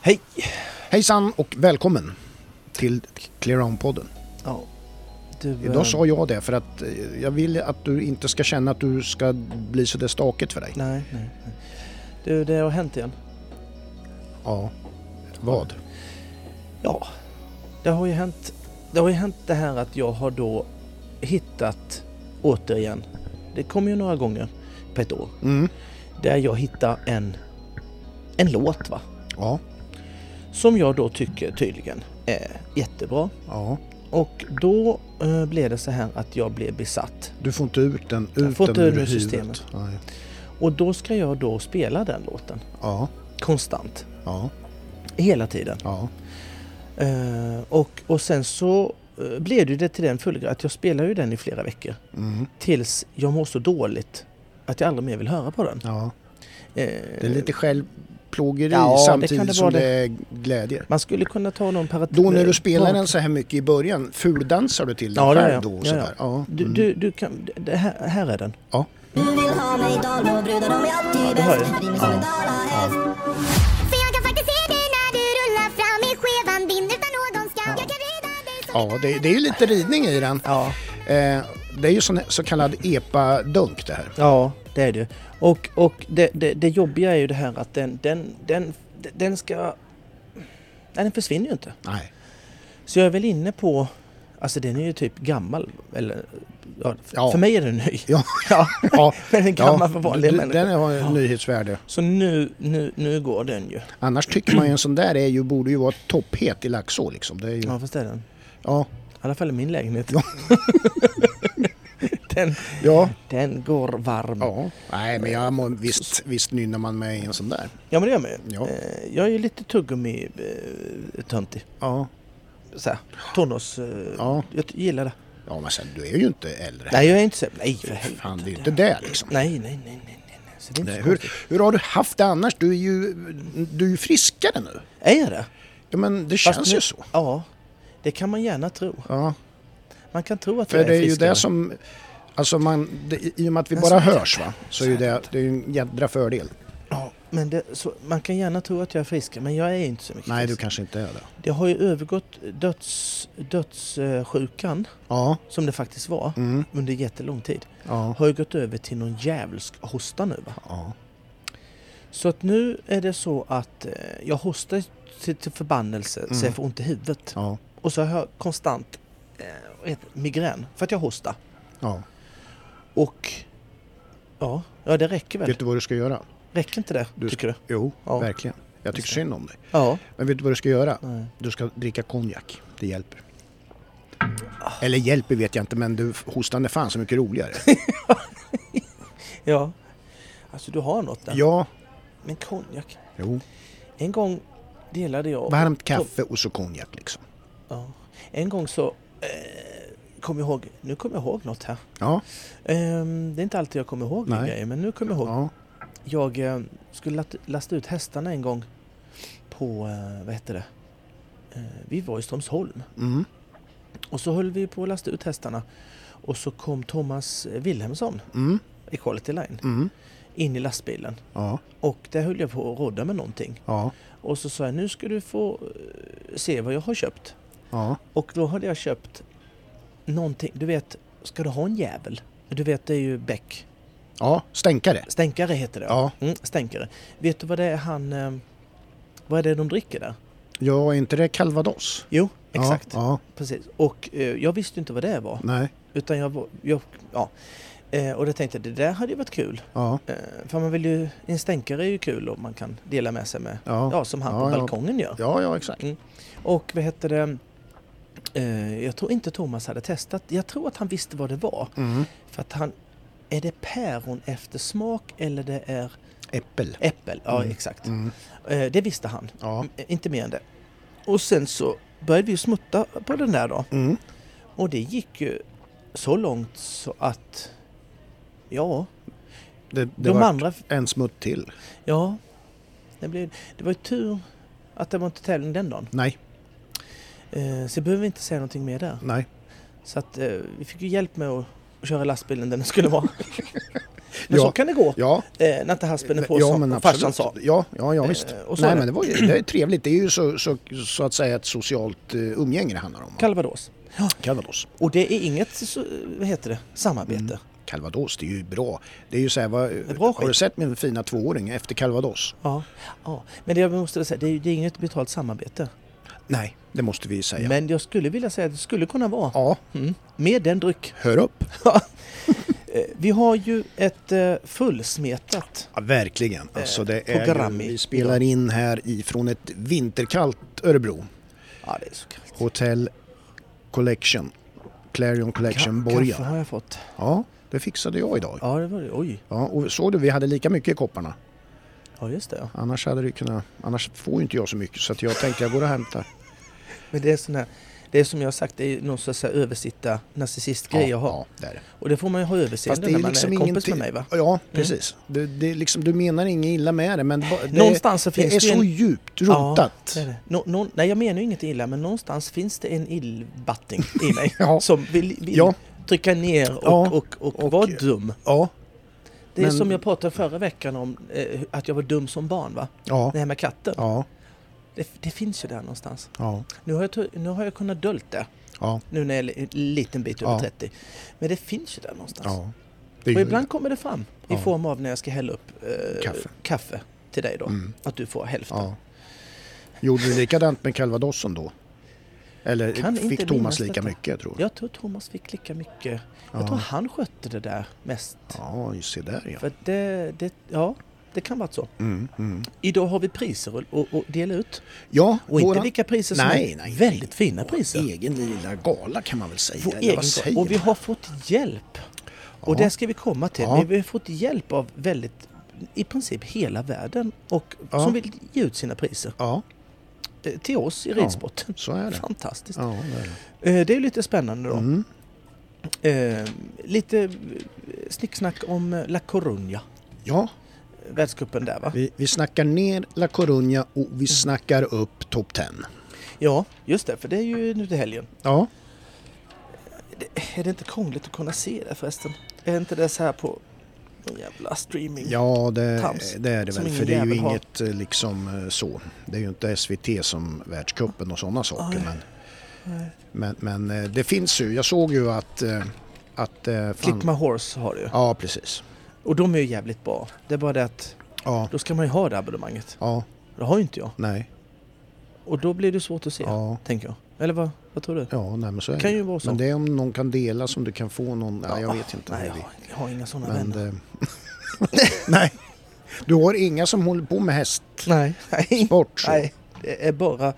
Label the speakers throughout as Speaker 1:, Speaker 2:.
Speaker 1: Hej!
Speaker 2: Hejsan och välkommen till Clear On-podden.
Speaker 1: Ja. Du, eh,
Speaker 2: Idag sa jag det för att eh, jag vill att du inte ska känna att du ska bli så där stakigt för dig.
Speaker 1: Nej, nej, nej. Du, det har hänt igen.
Speaker 2: Ja. Vad?
Speaker 1: Ja, det har ju hänt. Det har ju hänt det här att jag har då hittat återigen. Det kommer ju några gånger på ett år.
Speaker 2: Mm.
Speaker 1: Där jag hittar en, en låt va.
Speaker 2: Ja.
Speaker 1: Som jag då tycker tydligen är jättebra.
Speaker 2: Ja.
Speaker 1: Och då eh, blev det så här att jag blev besatt.
Speaker 2: Du får inte ut den, ut
Speaker 1: Jag får
Speaker 2: den
Speaker 1: inte ur
Speaker 2: ur
Speaker 1: systemet.
Speaker 2: huvudet. Nej.
Speaker 1: Och då ska jag då spela den låten.
Speaker 2: Ja.
Speaker 1: Konstant.
Speaker 2: Ja.
Speaker 1: Hela tiden.
Speaker 2: Ja.
Speaker 1: Eh, och, och sen så eh, blev det ju det till den fullgrad att jag spelar ju den i flera veckor.
Speaker 2: Mm.
Speaker 1: Tills jag mår så dåligt att jag aldrig mer vill höra på den.
Speaker 2: Ja.
Speaker 1: Eh,
Speaker 2: Det är lite självplågeri
Speaker 1: Ja, det kan
Speaker 2: samtidigt
Speaker 1: det
Speaker 2: som
Speaker 1: vara
Speaker 2: det
Speaker 1: det.
Speaker 2: är glädje.
Speaker 1: Man skulle kunna ta någon parat...
Speaker 2: Då när du spelar
Speaker 1: parat-
Speaker 2: den så här mycket i början, fuldansar du till den
Speaker 1: Ja, det gör
Speaker 2: själv
Speaker 1: jag.
Speaker 2: då? Och
Speaker 1: Ja, ja.
Speaker 2: sådär? Ja.
Speaker 1: Du,
Speaker 2: Mm.
Speaker 1: du, du kan... Det här, här är den.
Speaker 2: Ja.
Speaker 3: Du vill ha mig dalmål, brudar de är alltid
Speaker 1: det har jag.
Speaker 3: bäst. Rinner som en dalahäst.
Speaker 4: För jag kan faktiskt se dig när du rullar fram i skevan din utan någon skam. Jag kan rida dig som
Speaker 2: Ja, det, det är ju lite ridning i den.
Speaker 1: Ja.
Speaker 2: Eh, det är ju sån, så kallad epa-dunk det här.
Speaker 1: Ja, det är det. Och, och det, det, det jobbiga är ju det här att den, den, den, den ska... Nej, den försvinner ju inte.
Speaker 2: Nej.
Speaker 1: Så jag är väl inne på... Alltså den är ju typ gammal. Eller, ja, f-
Speaker 2: Ja.
Speaker 1: För mig är den ny.
Speaker 2: Ja.
Speaker 1: Ja.
Speaker 2: Ja.
Speaker 1: Men den gammal för vanliga
Speaker 2: du-
Speaker 1: människor.
Speaker 2: Den har ja. nyhetsvärde.
Speaker 1: Så nu, nu, nu går den ju.
Speaker 2: Annars tycker man ju en sån där är ju, borde ju vara topphet i Laxå liksom. Det är ju, ja.
Speaker 1: Ja, fast det är den.
Speaker 2: Ja.
Speaker 1: I alla fall i min lägenhet. den,
Speaker 2: ja.
Speaker 1: den går varm. Ja.
Speaker 2: Nej men jag må, visst, visst nynnar man med i en sån där.
Speaker 1: men det gör man ju.
Speaker 2: Ja.
Speaker 1: Eh, Jag är ju lite eh, tuggummi-töntig.
Speaker 2: Ja.
Speaker 1: Såhär, tonårs... eh,
Speaker 2: Ja.
Speaker 1: Jag gillar det.
Speaker 2: Ja men sen du är ju inte äldre.
Speaker 1: Nej, jag är inte så... Nej, för helvete.
Speaker 2: Fan det är ju inte det liksom.
Speaker 1: Nej, nej, nej, nej, nej. nej. Så det är inte
Speaker 2: Nej,
Speaker 1: så
Speaker 2: hur,
Speaker 1: konstigt.
Speaker 2: hur har du haft det annars? Du är ju, du är ju friskare nu.
Speaker 1: Är jag det?
Speaker 2: Ja men det
Speaker 1: Fast
Speaker 2: känns
Speaker 1: nu-
Speaker 2: ju så.
Speaker 1: Ja. Det kan man gärna tro.
Speaker 2: Ja.
Speaker 1: Man kan tro att
Speaker 2: För
Speaker 1: jag
Speaker 2: det är ju
Speaker 1: friskare.
Speaker 2: det som... Alltså man, det, I och med att vi
Speaker 1: Men
Speaker 2: bara
Speaker 1: så-
Speaker 2: hörs va, så är ju det, det är ju en jädra fördel.
Speaker 1: Ja, men det, så, man kan gärna tro att jag är friskare, men jag är inte så mycket
Speaker 2: Nej, du
Speaker 1: frisk.
Speaker 2: kanske inte är det.
Speaker 1: Det har ju övergått döds, dödssjukan,
Speaker 2: Ja,
Speaker 1: som det faktiskt var,
Speaker 2: Mm.
Speaker 1: under jättelång tid.
Speaker 2: ja,
Speaker 1: Har ju gått över till någon djävulsk hosta nu. Va?
Speaker 2: ja.
Speaker 1: Så att nu är det så att eh, jag hostar till, till förbannelse så jag får ont i huvudet.
Speaker 2: Mm. ja,
Speaker 1: Och så har jag konstant eh, vad heter det? migrän för att jag hostar.
Speaker 2: ja.
Speaker 1: Och ja, ja det räcker väl?
Speaker 2: Vet du vad du ska göra?
Speaker 1: Räcker inte det,
Speaker 2: Du
Speaker 1: tycker du?
Speaker 2: Jo,
Speaker 1: Ja.
Speaker 2: verkligen. Jag tycker synd om dig.
Speaker 1: Ja.
Speaker 2: Men vet du vad du ska göra?
Speaker 1: Nej.
Speaker 2: Du ska dricka konjak. Det hjälper. Eller hjälper vet jag inte, men du, hostan är fan så mycket roligare.
Speaker 1: ja. Alltså du har något där.
Speaker 2: ja,
Speaker 1: Men konjak.
Speaker 2: jo.
Speaker 1: En gång delade jag...
Speaker 2: Varmt kaffe och så konjak liksom.
Speaker 1: Ja. En gång så... Eh, kom jag ihåg... Nu kommer jag ihåg något här.
Speaker 2: Ja,
Speaker 1: Ehm, det är inte alltid jag kommer ihåg
Speaker 2: Nej.
Speaker 1: grejer, men nu kommer jag ihåg.
Speaker 2: ja,
Speaker 1: Jag eh, skulle lat- lasta ut hästarna en gång på... Eh, vad hette det? Eh, vi var i Strömsholm.
Speaker 2: mm,
Speaker 1: Och så höll vi på att lasta ut hästarna. Och så kom Thomas Wilhelmsson,
Speaker 2: mm,
Speaker 1: Equality Line,
Speaker 2: mm.
Speaker 1: in i lastbilen.
Speaker 2: Ja,
Speaker 1: Och där höll jag på att rodda med någonting.
Speaker 2: ja,
Speaker 1: Och så sa jag, nu ska du få eh, se vad jag har köpt.
Speaker 2: ja,
Speaker 1: Och då hade jag köpt någonting. Du vet, ska du ha en jävel? Du vet, det är ju Beck.
Speaker 2: ja, stänkare.
Speaker 1: Stänkare heter det.
Speaker 2: Ja.
Speaker 1: Mm, stänkare. Vet du vad det är han... eh, Vad är det de dricker där?
Speaker 2: Ja, är inte det calvados?
Speaker 1: Jo, exakt.
Speaker 2: Ja,
Speaker 1: Precis. Och eh, jag visste inte vad det var.
Speaker 2: ja nej,
Speaker 1: Utan jag... var- jag ja. Eh, och då tänkte jag, det där hade ju varit kul.
Speaker 2: ja,
Speaker 1: Eh, för man vill ju... En stänkare är ju kul och man kan dela med sig med...
Speaker 2: ja.
Speaker 1: Ja, som han
Speaker 2: Ja,
Speaker 1: på
Speaker 2: ja.
Speaker 1: balkongen gör. Mm.
Speaker 2: Ja, ja, exakt.
Speaker 1: Och vad hette det? Eh, jag tror inte Thomas hade testat. Jag tror att han visste vad det var.
Speaker 2: Mm.
Speaker 1: För att han... Är det päron efter smak eller det är
Speaker 2: Äppel.
Speaker 1: äppel? Ja, exakt.
Speaker 2: Mm.
Speaker 1: Eh, det visste han.
Speaker 2: Ja.
Speaker 1: Mm, Inte mer än det. Och sen så började vi ju smutta på den där då.
Speaker 2: Mm.
Speaker 1: Och det gick ju så långt så att... Ja,
Speaker 2: Det, det
Speaker 1: de
Speaker 2: var
Speaker 1: andra...
Speaker 2: en smutt till.
Speaker 1: Ja, det, blev, det var ju tur att det var inte tävling den dagen.
Speaker 2: Nej,
Speaker 1: Eh, så jag behöver inte säga någonting mer där.
Speaker 2: nej.
Speaker 1: Så att eh, vi fick ju hjälp med att, att köra lastbilen där den skulle vara. Men
Speaker 2: Ja.
Speaker 1: så kan det gå.
Speaker 2: Ja.
Speaker 1: Eh, när inte haspen är på som
Speaker 2: absolut.
Speaker 1: farsan sa.
Speaker 2: Ja, ja, ja visst.
Speaker 1: Eh, och så är
Speaker 2: Nej,
Speaker 1: det.
Speaker 2: men det, var, ju- det är trevligt. Det är ju så, så, så att säga ett socialt eh, umgänge det handlar om.
Speaker 1: Calvados.
Speaker 2: Calvados.
Speaker 1: Och det är inget, så, vad heter det, samarbete.
Speaker 2: Mm. Calvados, det är ju bra. Det är ju så här, vad,
Speaker 1: är bra
Speaker 2: har du
Speaker 1: skit.
Speaker 2: sett min fina tvååring efter Calvados?
Speaker 1: Ja. ja. Men det jag måste säga, det är, ju- det är inget betalt samarbete.
Speaker 2: Nej, det måste vi ju säga.
Speaker 1: Men jag skulle vilja säga att det skulle kunna vara.
Speaker 2: Ja,
Speaker 1: Mm. Med den dryck.
Speaker 2: hör upp.
Speaker 1: Eh, Vi har ju ett eh, fullsmetat.
Speaker 2: Ja, verkligen.
Speaker 1: Eh,
Speaker 2: Alltså, det är
Speaker 1: program
Speaker 2: ju,
Speaker 1: i-
Speaker 2: vi spelar in här ifrån ett vinterkallt Örebro.
Speaker 1: Ja, det är så kallt.
Speaker 2: Hotel Collection. Clarion Collection
Speaker 1: Ka- Kaffe
Speaker 2: Borgen.
Speaker 1: har jag fått.
Speaker 2: Ja, det fixade jag idag.
Speaker 1: Ja, det var det. Oj.
Speaker 2: Ja, och såg du, vi hade lika mycket i kopparna.
Speaker 1: Ja, just det. Ja.
Speaker 2: Annars, hade det kunnat, annars får ju inte jag så mycket så att jag tänkte jag går och hämtar.
Speaker 1: Men det är sån här, det är som jag har sagt, det är någon sorts så här översitta narcissistgrej jag har.
Speaker 2: ja, det är det.
Speaker 1: Och det får man ju ha överseende när man är kompis med mig va?
Speaker 2: liksom
Speaker 1: Mm.
Speaker 2: Ja, precis. Det, det är liksom, du menar inget illa med det men ba- det,
Speaker 1: Någonstans så finns
Speaker 2: det är
Speaker 1: det ju
Speaker 2: så
Speaker 1: en-
Speaker 2: djupt rotat.
Speaker 1: Ja, det är det. Nå, nå, nej, jag menar ju inget illa, men någonstans finns det en illbatting i mig
Speaker 2: Ja.
Speaker 1: som vill, vill
Speaker 2: Ja.
Speaker 1: trycka ner och,
Speaker 2: Ja.
Speaker 1: och, och,
Speaker 2: Och-
Speaker 1: vara dum.
Speaker 2: Ja,
Speaker 1: Det är
Speaker 2: men-
Speaker 1: som jag pratade förra veckan om, eh, att jag var dum som barn va?
Speaker 2: ja,
Speaker 1: Det här med katten.
Speaker 2: ja,
Speaker 1: Det, det finns ju där någonstans.
Speaker 2: ja,
Speaker 1: Nu har jag, tu- nu har jag kunnat dölt det,
Speaker 2: ja,
Speaker 1: nu när jag är en liten bit över
Speaker 2: Ja.
Speaker 1: 30. Men det finns ju där någonstans.
Speaker 2: ja. Det är
Speaker 1: Och
Speaker 2: ju-
Speaker 1: ibland kommer det fram i
Speaker 2: Ja.
Speaker 1: form av när jag ska hälla upp eh,
Speaker 2: Kaffe.
Speaker 1: kaffe. till dig då.
Speaker 2: Mm.
Speaker 1: Att du får hälften.
Speaker 2: Ja. Gjorde du likadant med calvadosson då? Eller
Speaker 1: Kan inte
Speaker 2: fick Thomas
Speaker 1: minnas
Speaker 2: lika
Speaker 1: detta.
Speaker 2: mycket tror jag?
Speaker 1: Jag tror Thomas fick lika mycket.
Speaker 2: Ja.
Speaker 1: Jag tror han skötte det där mest.
Speaker 2: Ja, just se där ja.
Speaker 1: För det, det, ja, det kan vara så.
Speaker 2: Mm, mm.
Speaker 1: Idag har vi priser att- att dela ut.
Speaker 2: Ja,
Speaker 1: Och inte
Speaker 2: våran-
Speaker 1: vilka priser som
Speaker 2: Nej,
Speaker 1: helst.
Speaker 2: nej, nej.
Speaker 1: Väldigt fina priser.
Speaker 2: egen lilla gala kan man väl säga.
Speaker 1: Vår
Speaker 2: eller
Speaker 1: egen
Speaker 2: vad säger
Speaker 1: Och vi
Speaker 2: man?
Speaker 1: har fått hjälp. Och
Speaker 2: Ja.
Speaker 1: det ska vi komma till.
Speaker 2: Ja.
Speaker 1: Men vi har fått hjälp av väldigt, i princip hela världen. Och
Speaker 2: Ja.
Speaker 1: som vill ge ut sina priser.
Speaker 2: Ja,
Speaker 1: eh, Till oss i ridsporten.
Speaker 2: så är det.
Speaker 1: Fantastiskt.
Speaker 2: Ja, det är det.
Speaker 1: Eh, Det är ju lite spännande då.
Speaker 2: Mm.
Speaker 1: Eh, lite eh, snicksnack om eh, La Coruña,
Speaker 2: ja
Speaker 1: eh, världscupen där va?
Speaker 2: vi, vi snackar ner La Coruña och vi snackar upp Top 10.
Speaker 1: Ja, just det, för det är ju nu till helgen.
Speaker 2: Ja,
Speaker 1: Det, är det inte krångligt att kunna se det förresten? Är inte det så här på någon jävla streaming?
Speaker 2: ja det,
Speaker 1: Tams,
Speaker 2: det är det
Speaker 1: som
Speaker 2: väl.
Speaker 1: ingen
Speaker 2: För det är ju
Speaker 1: jävel har.
Speaker 2: inget eh, liksom eh, så. Det är ju inte SVT som världscupen och sådana saker. Men, men, men eh, det finns ju. Jag såg ju att... eh, att eh, fan-
Speaker 1: Click My Horse har det ju.
Speaker 2: Ja, precis.
Speaker 1: Och de är ju jävligt bra. Det är bara det att
Speaker 2: Ja,
Speaker 1: då ska man ju ha det abonnemanget.
Speaker 2: ja,
Speaker 1: Det har ju inte jag.
Speaker 2: nej.
Speaker 1: Och då blir det svårt att se,
Speaker 2: Ja.
Speaker 1: tänker jag. Eller vad, vad tror du?
Speaker 2: Ja, nej men så är det.
Speaker 1: Kan ju vara så.
Speaker 2: Men det är om någon kan dela som du kan få någon. Nej, jag vet inte.
Speaker 1: Nej,
Speaker 2: hur
Speaker 1: jag
Speaker 2: det är.
Speaker 1: har, jag har inga sådana
Speaker 2: Men,
Speaker 1: vänner.
Speaker 2: eh, nej, du har inga som håller på med hästsport?
Speaker 1: Nej, nej.
Speaker 2: så.
Speaker 1: Nej, det är bara eh,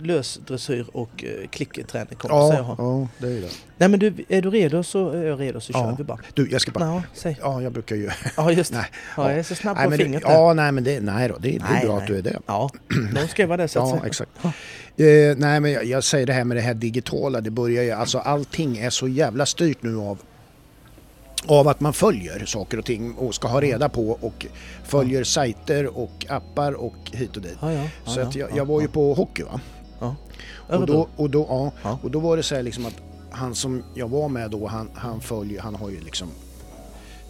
Speaker 1: lös dressyr och eh, klickträning kompisar jag
Speaker 2: Ja,
Speaker 1: har.
Speaker 2: ja, det är det.
Speaker 1: Nej men du, är du redo så är jag redo så
Speaker 2: Ja.
Speaker 1: kör vi bara.
Speaker 2: Du, jag ska bara...
Speaker 1: Ja, säg.
Speaker 2: Ja, jag brukar ju...
Speaker 1: Ja just det.
Speaker 2: Nej,
Speaker 1: Ja, jag är så snabb
Speaker 2: nej,
Speaker 1: på
Speaker 2: men det-
Speaker 1: fingret där.
Speaker 2: Ja, nej men det, nej då, det, det är
Speaker 1: Nej,
Speaker 2: bra
Speaker 1: nej.
Speaker 2: att du är det.
Speaker 1: Ja, någon ska vara det så att
Speaker 2: Ja,
Speaker 1: säga.
Speaker 2: exakt. Eh, nej, men jag, jag säger det här med det här digitala, det börjar ju, alltså allting är så jävla styrt nu av av att man följer saker och ting och ska ha reda på och följer sajter och appar och hit och dit.
Speaker 1: Ja, ja, ja,
Speaker 2: så att jag,
Speaker 1: ja,
Speaker 2: jag var ju på hockey va.
Speaker 1: Ja.
Speaker 2: Och
Speaker 1: Örebro.
Speaker 2: då, och, då, ja,
Speaker 1: Ja.
Speaker 2: och då var det så här liksom att han som jag var med då, han, han följer, han har ju liksom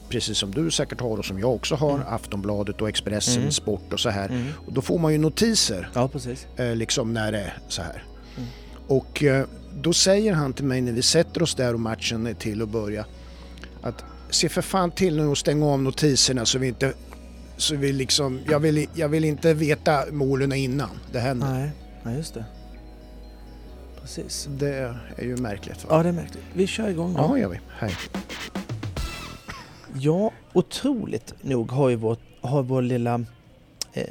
Speaker 2: precis som du säkert har och som jag också har,
Speaker 1: Mm.
Speaker 2: Aftonbladet och Expressen, Sport och så här. Och då får man ju notiser
Speaker 1: ja precis.
Speaker 2: eh, liksom när det är så här.
Speaker 1: Mm.
Speaker 2: Och eh, då säger han till mig när vi sätter oss där och matchen är till att börja att se för fan till nu och stänga av notiserna så vi inte så vi liksom, jag vill, jag vill inte veta målen innan det händer.
Speaker 1: Nej, nej just det. Precis.
Speaker 2: Det är ju märkligt. Va?
Speaker 1: Ja det är märkligt. Vi kör igång då.
Speaker 2: Ja, gör vi. Hej.
Speaker 1: Mm. Ja, otroligt nog har ju vår, har vår lilla, eh,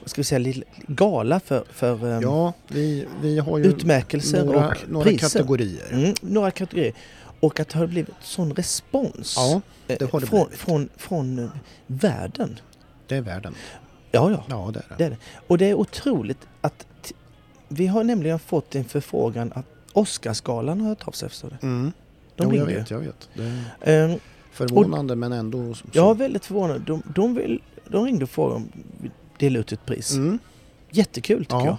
Speaker 1: vad ska vi säga, lilla gala för, för eh,
Speaker 2: Ja, vi, vi har ju
Speaker 1: utmärkelser
Speaker 2: några,
Speaker 1: och
Speaker 2: några
Speaker 1: priser.
Speaker 2: kategorier.
Speaker 1: Mm, några kategorier. Och att det har blivit sån respons
Speaker 2: Ja, det
Speaker 1: eh,
Speaker 2: har det
Speaker 1: från,
Speaker 2: blivit.
Speaker 1: från, från eh, världen.
Speaker 2: det är världen.
Speaker 1: Ja, ja,
Speaker 2: Ja, det är
Speaker 1: det
Speaker 2: det.
Speaker 1: är det. Och det är otroligt att t- vi har nämligen fått en förfrågan att Oscarsgalan har hört av sig förstår du.
Speaker 2: Mm.
Speaker 1: De
Speaker 2: jo, jag
Speaker 1: ringde ju.
Speaker 2: vet, jag vet. Det är
Speaker 1: Ehm,
Speaker 2: förvånande men ändå så.
Speaker 1: jag var väldigt förvånad. De, de, vill, de ringde och frågade om vi delade ut ett pris.
Speaker 2: Mm.
Speaker 1: Jättekul tycker
Speaker 2: Ja.
Speaker 1: jag.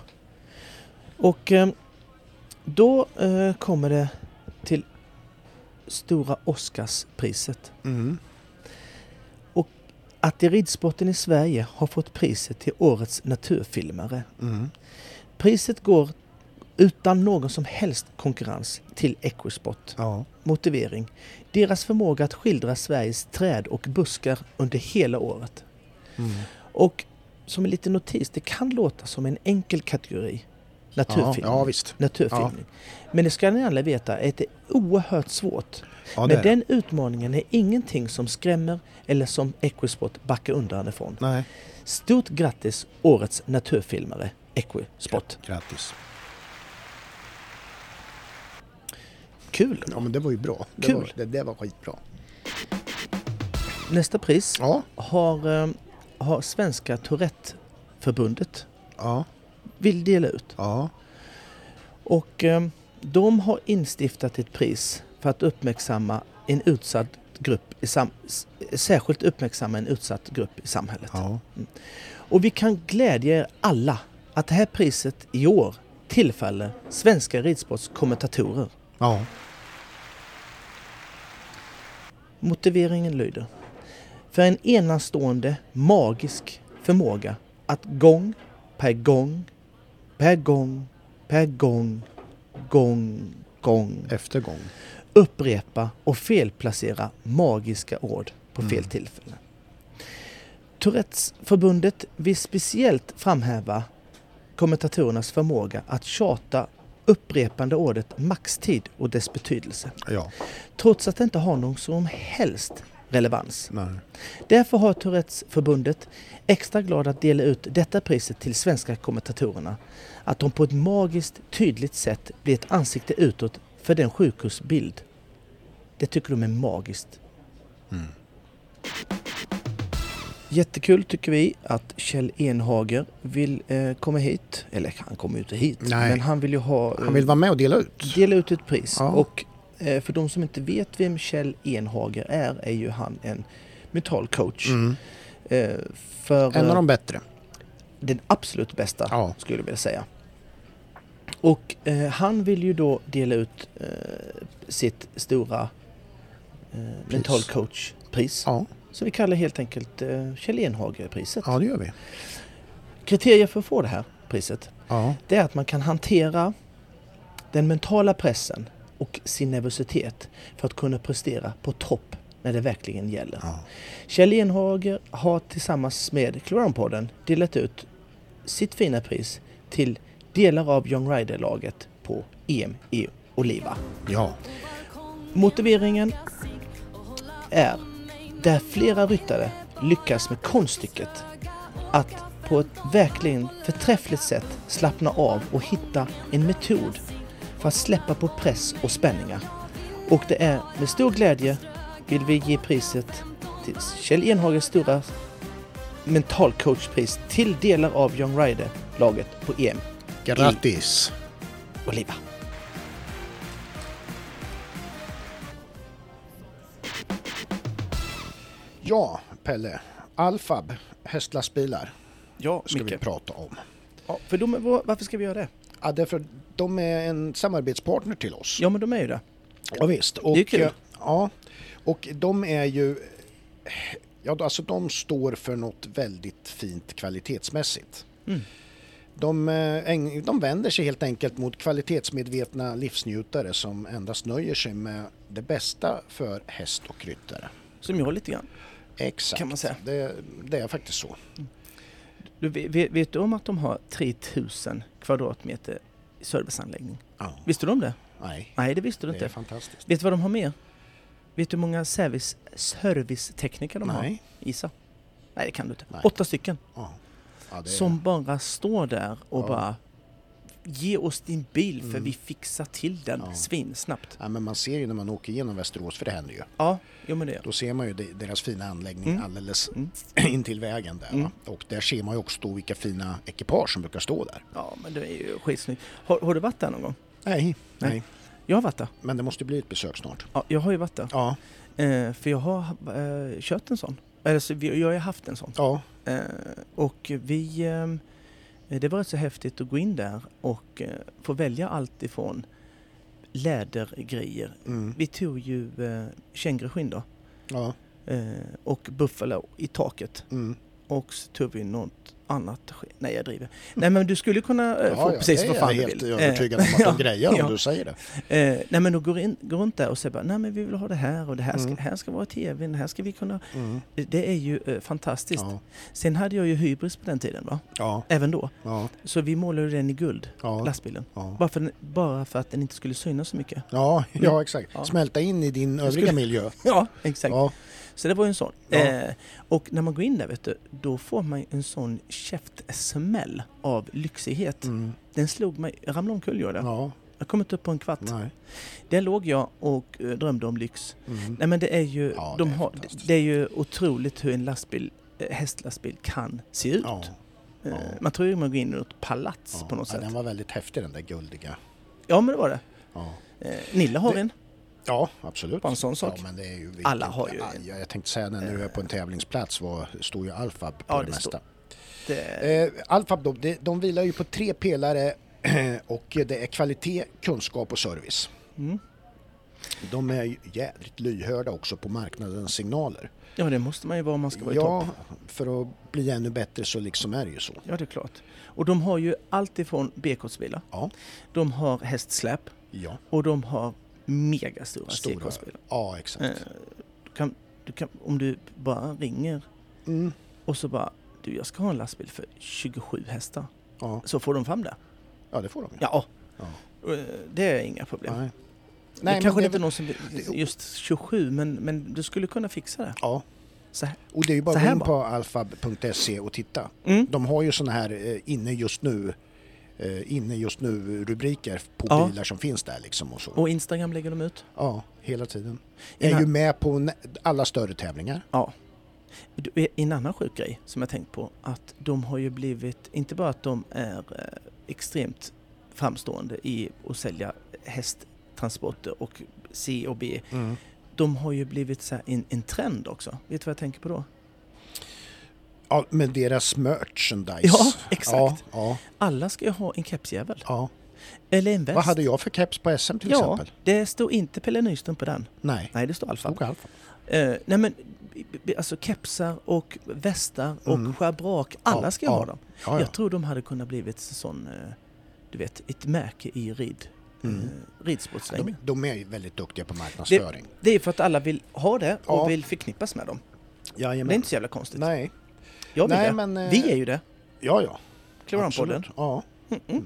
Speaker 1: Och ehm, då eh, kommer det till Stora Oscarspriset.
Speaker 2: Mm.
Speaker 1: Att i ridsporten i Sverige har fått priset till Årets naturfilmare.
Speaker 2: Mm.
Speaker 1: Priset går utan någon som helst konkurrens till Equisport.
Speaker 2: Ja.
Speaker 1: Motivering. Deras förmåga att skildra Sveriges träd och buskar under hela året.
Speaker 2: Mm.
Speaker 1: Och som en liten notis, det kan låta som en enkel kategori.
Speaker 2: Ja,
Speaker 1: Naturfilm.
Speaker 2: ja, visst.
Speaker 1: Naturfilmning. Men det ska ni alla veta att det är oerhört svårt.
Speaker 2: Ja, det
Speaker 1: Men
Speaker 2: är det.
Speaker 1: den utmaningen är ingenting som skrämmer eller som Equisport backar undan ifrån.
Speaker 2: Nej.
Speaker 1: Stort grattis årets naturfilmare Equisport.
Speaker 2: Grattis.
Speaker 1: Kul!
Speaker 2: Ja, men det var ju bra. Det
Speaker 1: Kul.
Speaker 2: Var, det, det var skitbra.
Speaker 1: Nästa pris
Speaker 2: Ja.
Speaker 1: har, eh, har Svenska Tourette-förbundet
Speaker 2: Ja.
Speaker 1: vill dela ut.
Speaker 2: Ja.
Speaker 1: Och eh, de har instiftat ett pris för att uppmärksamma en utsatt grupp i sam- s- särskilt uppmärksamma en utsatt grupp i samhället.
Speaker 2: Ja.
Speaker 1: Och vi kan glädja er alla att det här priset i år tillfaller svenska ridsportskommentatorer.
Speaker 2: Ja.
Speaker 1: Motiveringen lyder. För en enastående magisk förmåga att gång per gång, per gång, per gång, gång, gång
Speaker 2: Eftergång.
Speaker 1: upprepa och felplacera magiska ord på fel tillfälle. Tourettes förbundet vill speciellt framhäva kommentatorernas förmåga att tjata upprepande ordet maxtid och dess betydelse,
Speaker 2: Ja.
Speaker 1: trots att det inte har någon som helst relevans.
Speaker 2: Nej.
Speaker 1: Därför har Tourettes förbundet extra glad att dela ut detta priset till svenska kommentatorerna. Att de på ett magiskt tydligt sätt blir ett ansikte utåt för den sjukhusbild. Det tycker de är magiskt.
Speaker 2: Mm.
Speaker 1: Jättekul tycker vi att Kjell Enhager vill eh, komma hit. Eller han kommer ju inte hit.
Speaker 2: Nej.
Speaker 1: Men han vill ju ha... eh,
Speaker 2: Han vill vara med och dela ut.
Speaker 1: dela ut ett pris.
Speaker 2: Ja.
Speaker 1: Och eh, för de som inte vet vem Kjell Enhager är, är ju han en mentalcoach.
Speaker 2: Mm.
Speaker 1: Eh, för
Speaker 2: En av
Speaker 1: eh,
Speaker 2: de bättre.
Speaker 1: den absolut bästa,
Speaker 2: Ja.
Speaker 1: skulle jag vilja säga. Och eh, han vill ju då dela ut eh, sitt stora eh, mentalcoachpris.
Speaker 2: Ja.
Speaker 1: Som vi kallar helt enkelt eh, Kjell Enhager-priset.
Speaker 2: Ja, det gör vi.
Speaker 1: Kriterier för att få det här priset,
Speaker 2: Ja.
Speaker 1: det är att man kan hantera den mentala pressen och sin nervositet för att kunna prestera på topp när det verkligen gäller.
Speaker 2: Ja.
Speaker 1: Kjell Enhager har tillsammans med Kloranpodden delat ut sitt fina pris till delar av Young Rider-laget på EM i Oliva.
Speaker 2: Ja.
Speaker 1: Motiveringen är där flera ryttare lyckas med konststycket att på ett verkligen förträffligt sätt slappna av och hitta en metod för att släppa på press och spänningar. Och det är med stor glädje vill vi ge priset till Kjell Enhagens stora mentalcoachpris till delar av Young Rider-laget på EM
Speaker 2: Grattis.
Speaker 1: Oliva.
Speaker 2: Ja, Pelle. Alfab, hästlastbilar,
Speaker 1: Ja,
Speaker 2: ska vi prata om.
Speaker 1: Ja, för de, är- var- varför ska vi göra det?
Speaker 2: Ja, därför de är en samarbetspartner till oss.
Speaker 1: Ja, men de är ju det.
Speaker 2: Ja, visst. Och,
Speaker 1: Det är kul.
Speaker 2: eh, Ja, och de är ju... Ja, alltså de står för något väldigt fint kvalitetsmässigt.
Speaker 1: Mm.
Speaker 2: De, eh, äng- de vänder sig helt enkelt mot kvalitetsmedvetna livsnjutare som endast nöjer sig med det bästa för häst och ryttare.
Speaker 1: Som jag lite grann.
Speaker 2: Exakt.
Speaker 1: Kan man säga.
Speaker 2: Det, det är faktiskt så.
Speaker 1: Du, ve- ve- vet du om att de har 3000 kvadratmeter serviceanläggning?
Speaker 2: Ja.
Speaker 1: Visste du om det?
Speaker 2: Nej,
Speaker 1: Nej, det visste du
Speaker 2: det
Speaker 1: inte.
Speaker 2: är fantastiskt.
Speaker 1: Vet du vad de har mer? Vet du hur många service, servicetekniker de har?
Speaker 2: Nej.
Speaker 1: Gissa. Nej, det kan du inte.
Speaker 2: Nej.
Speaker 1: Åtta stycken
Speaker 2: Ja. Ja, det är,
Speaker 1: som bara står där och
Speaker 2: Ja.
Speaker 1: bara Ge oss din bil för
Speaker 2: Mm.
Speaker 1: vi fixar till den
Speaker 2: Ja.
Speaker 1: svinsnabbt.
Speaker 2: ja, men man ser ju när man åker igenom Västerås, för det händer ju.
Speaker 1: Ja, jo men det gör
Speaker 2: Då ser man ju de- deras fina anläggning
Speaker 1: Mm.
Speaker 2: alldeles
Speaker 1: Mm.
Speaker 2: intill vägen där.
Speaker 1: Mm.
Speaker 2: Va? Och där ser man ju också då vilka fina ekipage som brukar stå där.
Speaker 1: Ja, men det är ju skitsnyggt. Har, har du varit där någon gång?
Speaker 2: Nej,
Speaker 1: Nej.
Speaker 2: nej.
Speaker 1: Jag har varit där.
Speaker 2: Men det måste bli ett besök snart.
Speaker 1: Ja, jag har ju varit där.
Speaker 2: Ja,
Speaker 1: Eh, för jag har eh, kört en sån. Eller så, vi- jag har ju haft en sån.
Speaker 2: ja,
Speaker 1: Eh, och vi... ehm, eh, det var rätt så häftigt att gå in där och eh, få välja allt ifrån lädergrejer.
Speaker 2: Mm.
Speaker 1: Vi tog ju eh, känguruskinn då
Speaker 2: Ja.
Speaker 1: eh, och buffalo i taket
Speaker 2: Mm.
Speaker 1: och så tog vi något annat skinn. Nej, jag driver. Nej, men du skulle kunna eh, få
Speaker 2: ja,
Speaker 1: precis
Speaker 2: det
Speaker 1: vad
Speaker 2: är
Speaker 1: fan
Speaker 2: jag
Speaker 1: du
Speaker 2: helt
Speaker 1: vill. Eh,
Speaker 2: övertygad om att de
Speaker 1: ja,
Speaker 2: grejer om
Speaker 1: ja.
Speaker 2: du säger det.
Speaker 1: Eh, nej men då går, in, går runt där och säger bara, nej men vi vill ha det här och det här ska,
Speaker 2: Mm.
Speaker 1: här ska vara tvn, här ska vi kunna...
Speaker 2: Mm.
Speaker 1: Det är ju eh, fantastiskt.
Speaker 2: Ja.
Speaker 1: Sen hade jag ju hybris på den tiden va?
Speaker 2: Ja.
Speaker 1: Även då.
Speaker 2: Ja.
Speaker 1: Så vi målade den i guld,
Speaker 2: Ja.
Speaker 1: lastbilen.
Speaker 2: Ja.
Speaker 1: Bara för, den- bara för att den inte skulle synas så mycket.
Speaker 2: Ja, ja, exakt.
Speaker 1: Ja.
Speaker 2: Smälta in i din övriga
Speaker 1: skulle-
Speaker 2: miljö.
Speaker 1: Ja, exakt.
Speaker 2: Ja.
Speaker 1: Så det var ju en sån.
Speaker 2: Ja.
Speaker 1: Eh, och när man går in där vet du, då får man ju en sån käftsmäll av lyxighet.
Speaker 2: Mm.
Speaker 1: Den slog mig, jag ramlade omkull gjorde jag.
Speaker 2: Ja.
Speaker 1: Jag kom inte upp på en kvart.
Speaker 2: Nej.
Speaker 1: Där låg jag och eh, drömde om lyx.
Speaker 2: Mm.
Speaker 1: Nej men det är ju,
Speaker 2: Ja,
Speaker 1: de
Speaker 2: det är
Speaker 1: har,
Speaker 2: fantastiskt.
Speaker 1: det är ju otroligt hur en lastbil, eh, hästlastbil kan se ut.
Speaker 2: Ja.
Speaker 1: Eh,
Speaker 2: ja.
Speaker 1: Man tror ju man går in i något palats
Speaker 2: Ja.
Speaker 1: på något
Speaker 2: ja,
Speaker 1: sätt.
Speaker 2: den var väldigt häftig den där guldiga.
Speaker 1: Ja men det var det.
Speaker 2: Ja,
Speaker 1: Eh, Nilla har
Speaker 2: Det-
Speaker 1: en.
Speaker 2: ja absolut.
Speaker 1: Bara en sån sak.
Speaker 2: Ja, men det är ju vilket-
Speaker 1: Alla har ju
Speaker 2: Ja,
Speaker 1: en.
Speaker 2: jag tänkte säga när nu är på en tävlingsplats var, står ju Alfab på
Speaker 1: Ja,
Speaker 2: det,
Speaker 1: det
Speaker 2: mesta.
Speaker 1: Det,
Speaker 2: Eh, Alfab då, det, de vilar ju på tre pelare och det är kvalitet, kunskap och service.
Speaker 1: mm.
Speaker 2: De är ju jävligt lyhörda också på marknadens signaler.
Speaker 1: Ja det måste man ju vara om man ska vara i topp.
Speaker 2: Ja, för att bli ännu bättre så liksom är det ju så.
Speaker 1: Ja det är klart. Och de har ju allt ifrån B-kortsbilar,
Speaker 2: Ja,
Speaker 1: de har hästsläp
Speaker 2: ja.
Speaker 1: och de har megastora
Speaker 2: Stora.
Speaker 1: C-kortsbilar.
Speaker 2: Ja, exakt.
Speaker 1: Eh, du kan, du kan, om du bara ringer
Speaker 2: Mm.
Speaker 1: och så bara du jag ska ha en lastbil för 27 hästar.
Speaker 2: Ja.
Speaker 1: Så får de fram det.
Speaker 2: ja, det får de ju.
Speaker 1: Ja.
Speaker 2: Ja.
Speaker 1: Eh, Det är inga problem.
Speaker 2: Nej.
Speaker 1: Nej,
Speaker 2: men
Speaker 1: det kanske
Speaker 2: det är
Speaker 1: inte är
Speaker 2: väl-
Speaker 1: någon som just 27 men, men du skulle kunna fixa det.
Speaker 2: Ja,
Speaker 1: Så här.
Speaker 2: och det är ju bara
Speaker 1: Så
Speaker 2: att gå
Speaker 1: här
Speaker 2: in
Speaker 1: bara.
Speaker 2: på alfab.se och titta.
Speaker 1: Mm.
Speaker 2: De har ju sådana här eh, inne just nu eh, inne just nu rubriker på
Speaker 1: Ja.
Speaker 2: bilar som finns där liksom och så.
Speaker 1: Och Instagram lägger de ut.
Speaker 2: Ja, hela tiden.
Speaker 1: En
Speaker 2: Jag är ju
Speaker 1: a-
Speaker 2: med på nä- alla större tävlingar.
Speaker 1: Ja. Du, eh, En annan sjuk grej som jag tänkt på att de har ju blivit, inte bara att de är eh, extremt framstående i att sälja hästtransporter och C och B.
Speaker 2: Mm.
Speaker 1: De har ju blivit så här en, en trend också. Vet du vad jag tänker på då?
Speaker 2: Ja, men deras merchandise.
Speaker 1: Ja, exakt.
Speaker 2: Ja, ja,
Speaker 1: Alla ska ju ha en kepsjävel.
Speaker 2: ja.
Speaker 1: Eller en väst.
Speaker 2: Vad hade jag för keps på SM till
Speaker 1: ja,
Speaker 2: exempel?
Speaker 1: det står inte Pelle Nyström på den.
Speaker 2: Nej,
Speaker 1: Nej, det står Alfa.
Speaker 2: nog Alfa.
Speaker 1: Eh, nej men, b- b- alltså kepsar och västar och
Speaker 2: Mm.
Speaker 1: schabrak, alla
Speaker 2: Ja,
Speaker 1: ska ju
Speaker 2: ja,
Speaker 1: ha dem.
Speaker 2: Ah, Ja, ja.
Speaker 1: Jag tror de hade kunnat blivit så- sån, eh, du vet, ett märke i rid,
Speaker 2: Mm.
Speaker 1: eh,
Speaker 2: De,
Speaker 1: ridsportsvängen.
Speaker 2: de är ju väldigt duktiga på marknadsföring.
Speaker 1: Det är för att alla vill ha det och
Speaker 2: Ja.
Speaker 1: vill förknippas med dem. Det är
Speaker 2: Jajamän.
Speaker 1: inte så jävla konstigt.
Speaker 2: Nej,
Speaker 1: jag vill
Speaker 2: nej,
Speaker 1: det.
Speaker 2: men, eh,
Speaker 1: Vi är ju det,
Speaker 2: ja, ja.
Speaker 1: Kloranpodden.
Speaker 2: Absolut. Ja.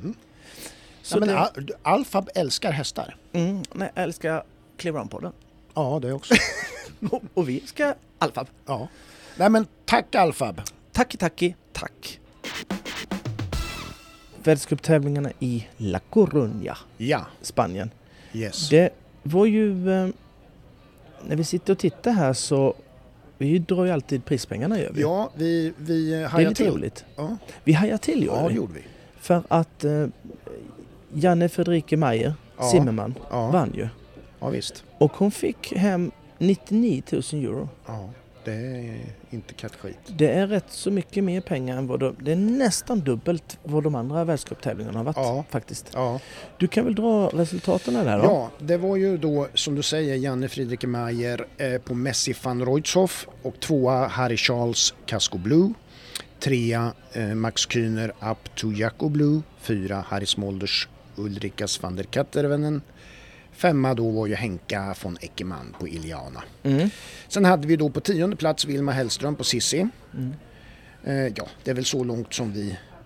Speaker 1: Så
Speaker 2: Nej, men
Speaker 1: det,
Speaker 2: Al- Alfab älskar hästar.
Speaker 1: mm, nej, jag älskar Clearown-podden.
Speaker 2: Ja, det också.
Speaker 1: Och, och vi ska Alfab.
Speaker 2: ja. Nej men tack Alfab.
Speaker 1: Tacki, tacki, tack. Världscuptävlingarna i La Coruña,
Speaker 2: Ja,
Speaker 1: Spanien.
Speaker 2: yes.
Speaker 1: Det var ju... eh, När vi sitter och tittar här så... Vi drar ju alltid prispengarna gör vi.
Speaker 2: Ja, vi, vi eh,
Speaker 1: det är
Speaker 2: hajar
Speaker 1: lite
Speaker 2: till.
Speaker 1: roligt.
Speaker 2: Ja,
Speaker 1: Vi hajar till gör
Speaker 2: ja det
Speaker 1: vi.
Speaker 2: gjorde vi.
Speaker 1: För att eh, Janne Fredrike Meyer,
Speaker 2: Ja.
Speaker 1: Zimmerman,
Speaker 2: Ja,
Speaker 1: vann ju.
Speaker 2: ja visst.
Speaker 1: Och hon fick hem 99 000 euro.
Speaker 2: Ja, det är inte kattskit.
Speaker 1: Det är rätt så mycket mer pengar än vad de... Det är nästan dubbelt vad de andra världscuptävlingarna har varit
Speaker 2: Ja.
Speaker 1: faktiskt.
Speaker 2: Ja.
Speaker 1: Du kan väl dra resultaten där då?
Speaker 2: ja, det var ju då som du säger Janne Friedrich Mayer eh, på Messi van Reutshoff och tvåa Harry Charles Casco Blue. Trea eh, Max Kühner Up to Jaco Blue. Fyra Harry Smolders Ulrikas van der Kattervenen. Femma då var ju Henka von Eckermann på Iliana.
Speaker 1: Mm.
Speaker 2: Sen hade vi då på tionde plats Vilma Hellström på Sissi.
Speaker 1: Mm.
Speaker 2: Eh, ja, det är väl så långt som vi,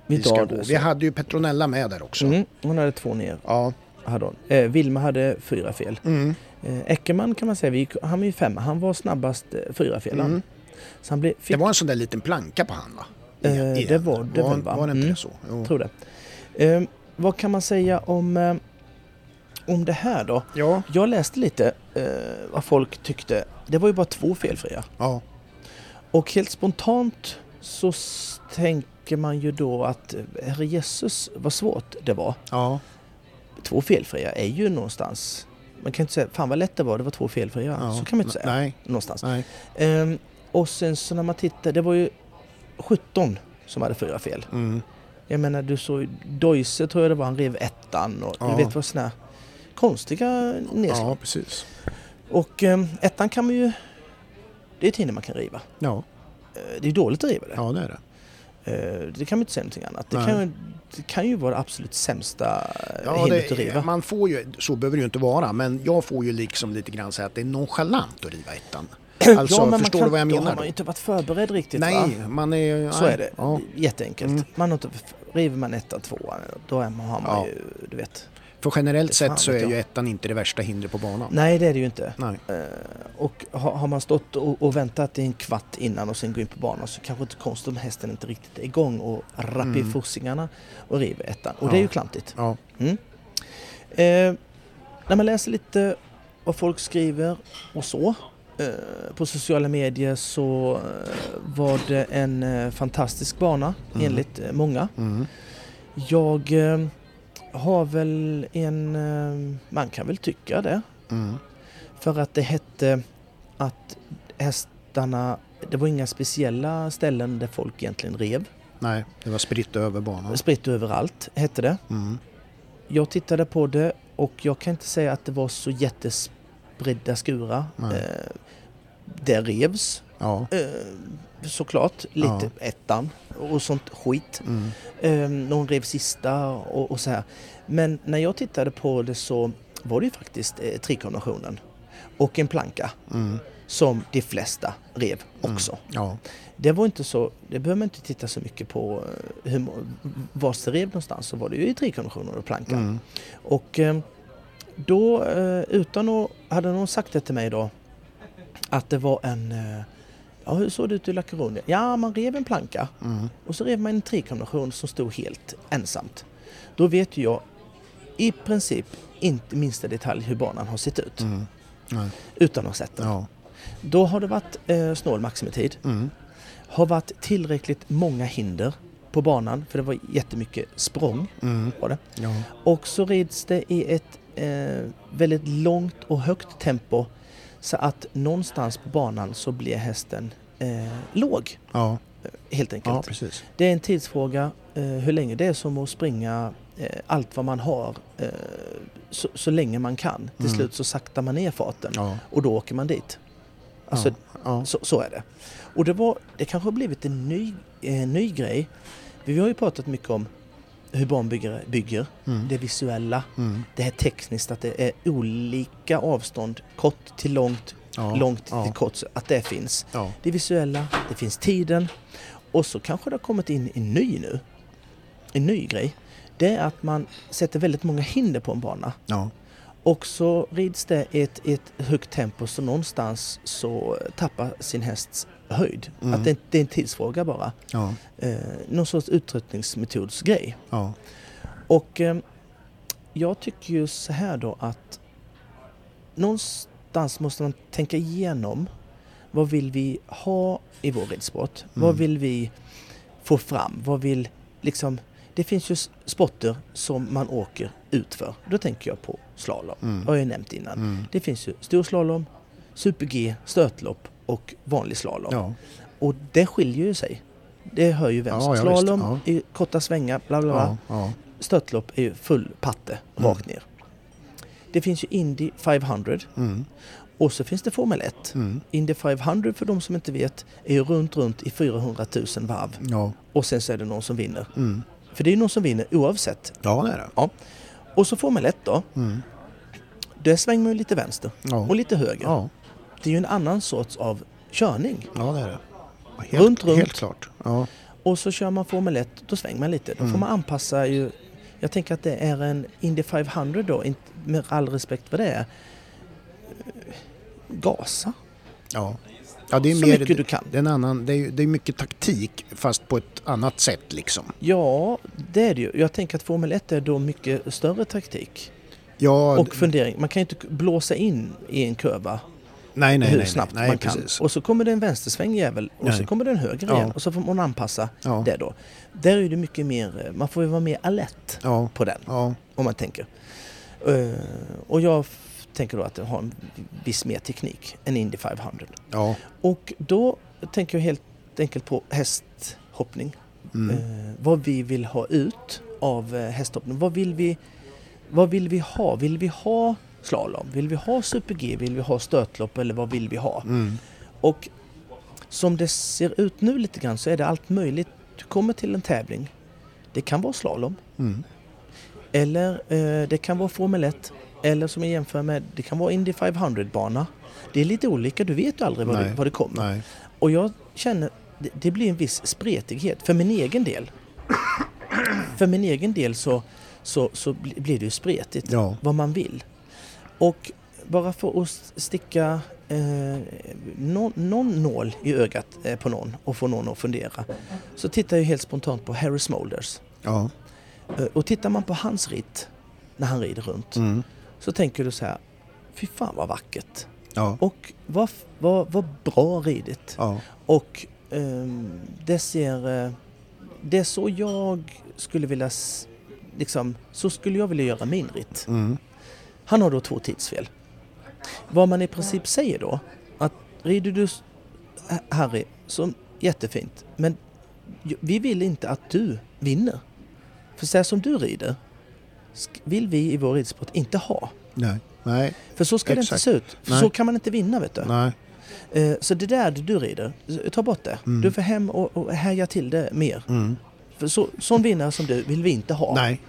Speaker 1: Vi
Speaker 2: vi,
Speaker 1: tar
Speaker 2: ska
Speaker 1: det
Speaker 2: gå.
Speaker 1: så.
Speaker 2: Vi hade ju Petronella med där också.
Speaker 1: Mm. Hon hade två ner.
Speaker 2: Ja,
Speaker 1: Hade hon. Eh, Vilma hade fyra fel.
Speaker 2: mm,
Speaker 1: Eh, Eckermann kan man säga, vi gick, han var ju femma. Han var snabbast eh, fyra fel.
Speaker 2: Mm.
Speaker 1: han. Så han blev, fick,
Speaker 2: det var en sån där liten planka på han va?
Speaker 1: Eh,
Speaker 2: Igen.
Speaker 1: det var det
Speaker 2: var,
Speaker 1: väl, va?
Speaker 2: Var det inte
Speaker 1: Mm.
Speaker 2: det så? Jo.
Speaker 1: tror det. Eh, vad kan man säga om, eh, om det här då?
Speaker 2: Ja,
Speaker 1: Jag läste lite eh, vad folk tyckte. Det var ju bara två felfria.
Speaker 2: ja,
Speaker 1: Och helt spontant så s- tänker man ju då att eh, herrejösses vad svårt det var.
Speaker 2: ja,
Speaker 1: Två felfria är ju någonstans, man kan inte säga fan vad lätt det var, det var två felfria.
Speaker 2: ja.
Speaker 1: Så kan man inte säga.
Speaker 2: Nej,
Speaker 1: Någonstans.
Speaker 2: nej.
Speaker 1: Ehm, och sen så när man tittar, det var ju 17 som hade fyra fel.
Speaker 2: Mm.
Speaker 1: Jag menar du såg ju- Deuse tror jag det var, han rev ettan och
Speaker 2: Ja.
Speaker 1: du vet vad sådana här konstiga nedslag.
Speaker 2: Ja, precis.
Speaker 1: Och eh, ettan kan man ju... Det är ett hinder man kan riva.
Speaker 2: Ja,
Speaker 1: Eh, Det är dåligt att riva det.
Speaker 2: ja det är det.
Speaker 1: Eh, Det kan man inte säga någonting annat. Det
Speaker 2: Nej.
Speaker 1: kan, ju- det kan ju vara det absolut sämsta eh,
Speaker 2: Ja,
Speaker 1: hindret att
Speaker 2: det,
Speaker 1: riva.
Speaker 2: man får ju, så behöver det ju inte vara, men jag får ju liksom lite grann säga att det är nonchalant att riva ettan. Alltså,
Speaker 1: ja, men man
Speaker 2: förstår
Speaker 1: kan,
Speaker 2: du vad jag
Speaker 1: Då
Speaker 2: menar?
Speaker 1: har man ju
Speaker 2: då?
Speaker 1: inte varit förberedd riktigt va?
Speaker 2: Nej, man är...
Speaker 1: Så
Speaker 2: nej,
Speaker 1: är det.
Speaker 2: Ja. Mm.
Speaker 1: Jätteenkelt. Man har inte, river man ettan, tvåan, då är man, har man
Speaker 2: Ja.
Speaker 1: ju, du vet.
Speaker 2: För generellt
Speaker 1: Fan,
Speaker 2: sett så
Speaker 1: vet
Speaker 2: är
Speaker 1: jag.
Speaker 2: ju ettan inte det värsta hindret på banan.
Speaker 1: Nej, det är det ju inte.
Speaker 2: Nej.
Speaker 1: Och har, har man stått och, och väntat i en kvart innan och sen går in på banan så kanske inte konstigt om hästen inte riktigt är igång och rapp i fossingarna och river ettan. Och det är
Speaker 2: Ja.
Speaker 1: ju klantigt.
Speaker 2: Ja.
Speaker 1: Eh, när man läser lite vad folk skriver och så eh, på sociala medier så eh, var det en eh, fantastisk bana enligt eh, många.
Speaker 2: Mm.
Speaker 1: Jag eh, har väl en... Eh, man kan väl tycka det.
Speaker 2: Mm.
Speaker 1: För att det hette att hästarna... Det var inga speciella ställen där folk egentligen rev.
Speaker 2: Nej, det var spritt över banan.
Speaker 1: Spritt överallt hette det.
Speaker 2: Mm.
Speaker 1: Jag tittade på det och jag kan inte säga att det var så jättespridda skurar.
Speaker 2: Nej.
Speaker 1: Eh, det revs
Speaker 2: Ja.
Speaker 1: eh, såklart lite ettan och sånt skit.
Speaker 2: Mm.
Speaker 1: Eh, någon rev sista och, och så här. Men när jag tittade på det så var det ju faktiskt eh, trikombinationen och en planka
Speaker 2: Mm.
Speaker 1: som de flesta rev också.
Speaker 2: Ja.
Speaker 1: Det var inte så, det behöver man inte titta så mycket på eh, hur, må- vars det rev någonstans så var det ju i trikombinationen och plankan.
Speaker 2: Mm.
Speaker 1: Och eh, då, eh, utan att, hade någon sagt det till mig då, att det var en, eh, ja hur såg det ut i La Coruña? Ja, man rev en planka
Speaker 2: Mm.
Speaker 1: och så rev man en trikombination som stod helt ensamt. Då vet ju jag i princip inte minsta detalj hur banan har sett ut
Speaker 2: Mm. Nej.
Speaker 1: utan att ha sett den.
Speaker 2: Ja.
Speaker 1: Då har det varit eh, snål maximitid,
Speaker 2: Mm.
Speaker 1: har varit tillräckligt många hinder på banan för det var jättemycket språng
Speaker 2: Mm.
Speaker 1: var det.
Speaker 2: Ja.
Speaker 1: Och så rids det i ett eh, väldigt långt och högt tempo så att någonstans på banan så blir hästen eh, låg
Speaker 2: Ja.
Speaker 1: helt enkelt.
Speaker 2: Ja, precis.
Speaker 1: det är en tidsfråga eh, hur länge det är som att springa eh, allt vad man har eh, så, så länge man kan. Till
Speaker 2: Mm.
Speaker 1: slut så saktar man ner farten
Speaker 2: Ja.
Speaker 1: och då åker man dit. Alltså,
Speaker 2: ja.
Speaker 1: så, så är det. Och det, var, det kanske har blivit en ny, en ny grej. Vi har ju pratat mycket om hur barnbyggare bygger,
Speaker 2: Mm.
Speaker 1: det visuella,
Speaker 2: Mm.
Speaker 1: det här tekniskt, att det är olika avstånd, kort till långt,
Speaker 2: Ja,
Speaker 1: långt
Speaker 2: ja.
Speaker 1: till kort, så att det finns.
Speaker 2: Ja.
Speaker 1: Det visuella, det finns tiden och så kanske det har kommit in en ny nu, en ny grej. Det är att man sätter väldigt många hinder på en bana
Speaker 2: Ja.
Speaker 1: och så rids det i ett, i ett högt tempo så någonstans så tappar sin hästs höjd.
Speaker 2: Mm.
Speaker 1: Att det, det är en tidsfråga bara.
Speaker 2: Ja.
Speaker 1: Eh, någon sorts uttröttningsmetodsgrej.
Speaker 2: Ja.
Speaker 1: Och eh, jag tycker ju så här då att någonstans måste man tänka igenom vad vill vi ha i vår ridsport? Vad
Speaker 2: Mm.
Speaker 1: vill vi få fram? Vad vill liksom... Det finns ju s- sporter som man åker utför. Då tänker jag på slalom.
Speaker 2: Mm.
Speaker 1: Det har jag ju nämnt innan. Det finns ju storslalom, super-G, stötlopp och vanlig slalom.
Speaker 2: Ja.
Speaker 1: Och det skiljer ju sig. Det hör ju vem
Speaker 2: Ja,
Speaker 1: som...
Speaker 2: ja, visst.
Speaker 1: slalom
Speaker 2: Ja.
Speaker 1: är ju korta svängar, bla bla bla
Speaker 2: Ja. Ja.
Speaker 1: störtlopp är ju full patte rakt ner. Det finns ju Indy 500
Speaker 2: Mm.
Speaker 1: och så finns det Formel 1.
Speaker 2: Mm.
Speaker 1: Indy 500 för de som inte vet är ju runt runt i 400 000 varv
Speaker 2: Ja.
Speaker 1: och sen så är det någon som vinner.
Speaker 2: Mm.
Speaker 1: För det är ju någon som vinner oavsett.
Speaker 2: Ja, det är det.
Speaker 1: Ja. Och så Formel 1 då.
Speaker 2: Mm.
Speaker 1: Där svänger man ju lite vänster
Speaker 2: Ja.
Speaker 1: och lite höger.
Speaker 2: Ja.
Speaker 1: Det är ju en annan sorts av körning.
Speaker 2: Ja, det är det. Helt,
Speaker 1: Runt, runt.
Speaker 2: Helt klart. Ja.
Speaker 1: Och så kör man Formel 1, då svänger man lite. Då
Speaker 2: Mm.
Speaker 1: får man anpassa ju... Jag tänker att det är en Indy 500 då, inte, med all respekt vad det är. eh, Gasa.
Speaker 2: Ja. Ja, det är
Speaker 1: Så
Speaker 2: mer,
Speaker 1: mycket du kan.
Speaker 2: Det är, en annan, det, är, ju- det är mycket taktik fast på ett annat sätt liksom.
Speaker 1: Ja, det är det ju. Jag tänker att Formel 1 är då mycket större taktik
Speaker 2: Ja,
Speaker 1: och fundering. Man kan ju inte blåsa in i en kurva
Speaker 2: nej, nej,
Speaker 1: hur
Speaker 2: nej,
Speaker 1: snabbt
Speaker 2: nej,
Speaker 1: man
Speaker 2: nej,
Speaker 1: kan.
Speaker 2: precis.
Speaker 1: Och så kommer det en vänstersväng jävel och så
Speaker 2: Nej.
Speaker 1: kommer det en höger
Speaker 2: Ja.
Speaker 1: igen och så får man anpassa
Speaker 2: Ja.
Speaker 1: det då. Där är det mycket mer, eh, man får ju vara mer alert
Speaker 2: Ja,
Speaker 1: på den.
Speaker 2: ja,
Speaker 1: om man tänker. Eh, och jag f- tänker då att den har en viss mer teknik än Indy 500.
Speaker 2: ja,
Speaker 1: Och då tänker jag helt enkelt på hästhoppning. Eh, vad vi vill ha ut av eh, hästhoppning. Vad vill vi Vad vill vi ha? Vill vi ha slalom? Vill vi ha super-G? Vill vi ha stötlopp? Eller vad vill vi ha? Och som det ser ut nu lite grann så är det allt möjligt. Du kommer till en tävling. Det kan vara slalom. Eller eh, det kan vara Formel 1. Eller som jag jämför med, det kan vara Indy 500-bana. Det är lite olika, du vet ju aldrig vad,
Speaker 2: Nej.
Speaker 1: det, vad det kommer.
Speaker 2: Nej.
Speaker 1: Och jag känner, det, det blir en viss spretighet för min egen del. för min egen del så, så, så bli- blir det ju spretigt
Speaker 2: Ja.
Speaker 1: vad man vill. Och bara för att sticka eh, någon, någon nål i ögat eh, på någon och få någon att fundera så tittar jag helt spontant på Harry Smolders.
Speaker 2: Ja.
Speaker 1: Eh, Och tittar man på hans ritt när han rider runt
Speaker 2: Mm.
Speaker 1: så tänker du så här, fy fan vad vackert.
Speaker 2: Ja.
Speaker 1: Och vad, f- vad, vad bra ridit.
Speaker 2: Ja.
Speaker 1: Och ehm, det ser... eh, Det är så jag skulle vilja... s- Liksom, så skulle jag vilja göra min ritt.
Speaker 2: Mm.
Speaker 1: Han har då två tidsfel. Vad man i princip säger då, att rider du s- H- Harry, så jättefint, men j- vi vill inte att du vinner. För så här som du rider, sk- vill vi i vår ridsport inte ha.
Speaker 2: Nej. Nej.
Speaker 1: För så ska det
Speaker 2: Exakt.
Speaker 1: inte se ut. För
Speaker 2: Nej.
Speaker 1: så kan man inte vinna vet du.
Speaker 2: Nej.
Speaker 1: Eh, Så det där du rider, eh, ta bort det. Du får hem och, och härja till det mer. För så, sån vinnare som du vill vi inte ha.
Speaker 2: Nej.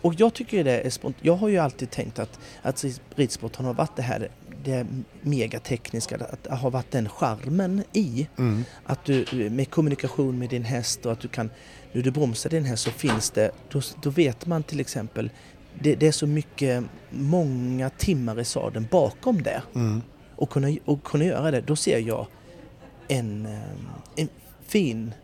Speaker 1: Och jag tycker det är spont- Jag har ju alltid tänkt att, att ridsporten har varit det här det megatekniska, att det har varit den charmen i.
Speaker 2: Mm.
Speaker 1: Att du med kommunikation med din häst och att du kan, när du bromsar din häst så finns det, då, då vet man till exempel, det, det är så mycket, många timmar i sadeln bakom det.
Speaker 2: Mm.
Speaker 1: Och, kunna, och kunna göra det, då ser jag en, eh, en fin,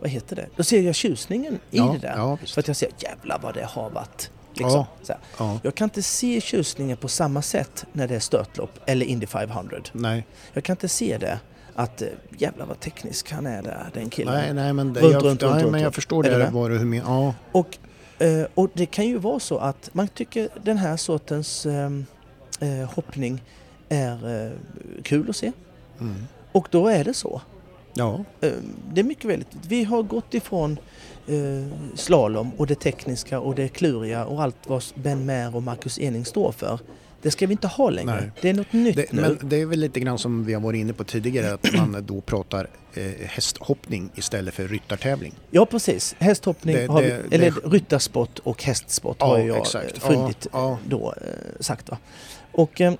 Speaker 1: vad heter det? Då ser jag tjusningen i
Speaker 2: Ja,
Speaker 1: det där.
Speaker 2: ja, visst.
Speaker 1: för att jag ser jävlar vad det har varit. Liksom.
Speaker 2: Ja,
Speaker 1: Så här.
Speaker 2: ja.
Speaker 1: Jag kan inte se tjusningen på samma sätt när det är störtlopp eller Indy 500.
Speaker 2: Nej.
Speaker 1: Jag kan inte se det att eh, jävlar vad teknisk han är där, den killen.
Speaker 2: Nej, nej, men, det,
Speaker 1: Runt,
Speaker 2: jag,
Speaker 1: runt,
Speaker 2: nej,
Speaker 1: runt,
Speaker 2: men
Speaker 1: runt.
Speaker 2: jag förstår
Speaker 1: Är du
Speaker 2: det.
Speaker 1: med?
Speaker 2: Var det hur min, ja,
Speaker 1: Och, eh, och det kan ju vara så att man tycker den här sortens eh, eh, hoppning är eh, kul att se.
Speaker 2: Mm.
Speaker 1: Och då är det så.
Speaker 2: ja,
Speaker 1: Eh, Det är mycket väldigt. Vi har gått ifrån eh, slalom och det tekniska och det kluriga och allt vad Ben Mair och Marcus Ening står för. Det ska vi inte ha längre.
Speaker 2: Nej.
Speaker 1: Det är något nytt
Speaker 2: det,
Speaker 1: nu.
Speaker 2: men det är väl lite grann som vi har varit inne på tidigare att man då pratar eh, hästhoppning istället för ryttartävling.
Speaker 1: Ja precis, hästhoppning,
Speaker 2: Det-
Speaker 1: har vi,
Speaker 2: det-
Speaker 1: eller
Speaker 2: det-
Speaker 1: ryttarsport och hästsport har
Speaker 2: Ja,
Speaker 1: jag
Speaker 2: exakt.
Speaker 1: eh, funnit
Speaker 2: Ja, ja.
Speaker 1: då eh, sagt. Va? Och eh,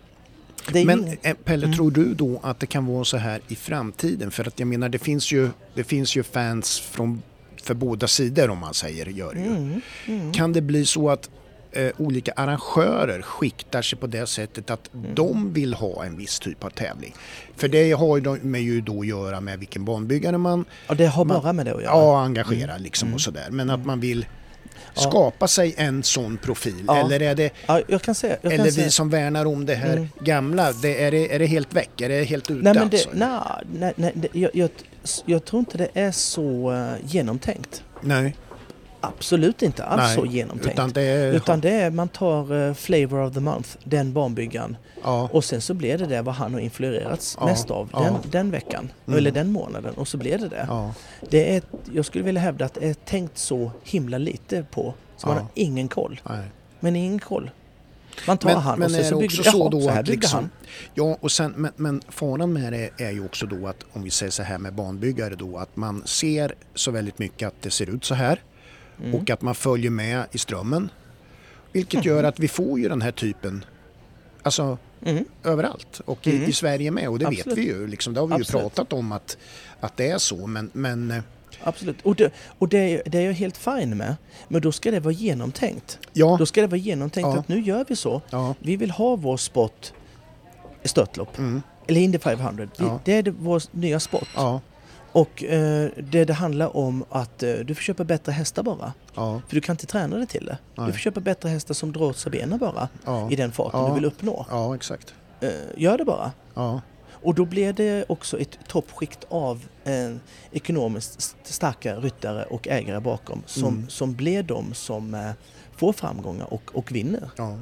Speaker 1: det är
Speaker 2: Men
Speaker 1: ju...
Speaker 2: eh, Pelle, tror du då att det kan vara så här i framtiden? För att jag menar, det finns ju, det finns ju fans från, för båda sidor om man säger gör det ju. Kan det bli så att eh, olika arrangörer skiktar sig på det sättet att de vill ha en viss typ av tävling? För det har ju, de- med ju då att göra med vilken banbyggare man
Speaker 1: Ja, det har bara med det att göra.
Speaker 2: ja, engagera liksom och sådär. Men att man vill skapa sig en sån profil.
Speaker 1: Ja.
Speaker 2: Eller är det
Speaker 1: Ja, jag kan säga... Jag
Speaker 2: eller
Speaker 1: kan
Speaker 2: vi
Speaker 1: säga,
Speaker 2: som värnar om det här gamla, det, är, det, är det helt väck? Är det helt ute
Speaker 1: Mm. Nej, men det,
Speaker 2: alltså?
Speaker 1: nej, nej, nej, det- jag, jag, jag tror inte det är så eh, genomtänkt.
Speaker 2: Nej.
Speaker 1: Absolut inte alls
Speaker 2: Nej,
Speaker 1: så genomtänkt.
Speaker 2: utan det är-
Speaker 1: Utan det är man tar eh, Flavor of the Month, den barnbyggaren.
Speaker 2: Ja.
Speaker 1: Och sen så blir det det vad han har influerats
Speaker 2: Ja,
Speaker 1: mest av
Speaker 2: ja. Mm.
Speaker 1: den, den veckan. Eller den månaden. Och så blir det det.
Speaker 2: Ja.
Speaker 1: det är, ett- jag skulle vilja hävda att det är tänkt så himla lite på. Så man
Speaker 2: Ja.
Speaker 1: har ingen koll.
Speaker 2: Nej.
Speaker 1: Men ingen koll. Man tar
Speaker 2: Men,
Speaker 1: han
Speaker 2: men
Speaker 1: och sen
Speaker 2: är
Speaker 1: så
Speaker 2: det
Speaker 1: bygger
Speaker 2: också
Speaker 1: Jaha,
Speaker 2: så då
Speaker 1: så här
Speaker 2: att
Speaker 1: byggde han.
Speaker 2: liksom, ja, och sen, men, men faran med det är ju också då att om vi säger så här med banbyggare då att man ser så väldigt mycket att det ser ut så här
Speaker 1: Mm.
Speaker 2: och att man följer med i strömmen. Vilket
Speaker 1: Mm.
Speaker 2: gör att vi får ju den här typen Alltså överallt och i, i Sverige med och det vet
Speaker 1: Mm. Absolut.
Speaker 2: vi ju. Liksom, det har vi ju
Speaker 1: Absolut.
Speaker 2: pratat om att, att det är så men, men eh,
Speaker 1: Absolut. Och, det, och det, är- det är jag helt fin med. Men då ska det vara genomtänkt.
Speaker 2: Ja.
Speaker 1: Då ska det vara genomtänkt
Speaker 2: Ja.
Speaker 1: att nu gör vi så.
Speaker 2: Ja.
Speaker 1: Vi vill ha vår sport i störtlopp. Eller Indy 500. Vi,
Speaker 2: Mm. Ja.
Speaker 1: Det är det, vår nya sport.
Speaker 2: ja,
Speaker 1: Och eh, det, det handlar om att eh, du får köpa bättre hästar bara.
Speaker 2: ja.
Speaker 1: För du kan inte träna dig till det.
Speaker 2: Nej.
Speaker 1: Du får köpa bättre hästar som drar åt sig benen bara.
Speaker 2: Ja.
Speaker 1: I den farten
Speaker 2: Ja.
Speaker 1: du vill uppnå.
Speaker 2: Ja, exakt.
Speaker 1: Eh, gör det bara.
Speaker 2: Ja,
Speaker 1: Och då blir det också ett toppskikt av eh, ekonomiskt st- starka ryttare och ägare bakom som,
Speaker 2: Mm.
Speaker 1: som blir de som eh, får framgångar och, och vinner.
Speaker 2: ja,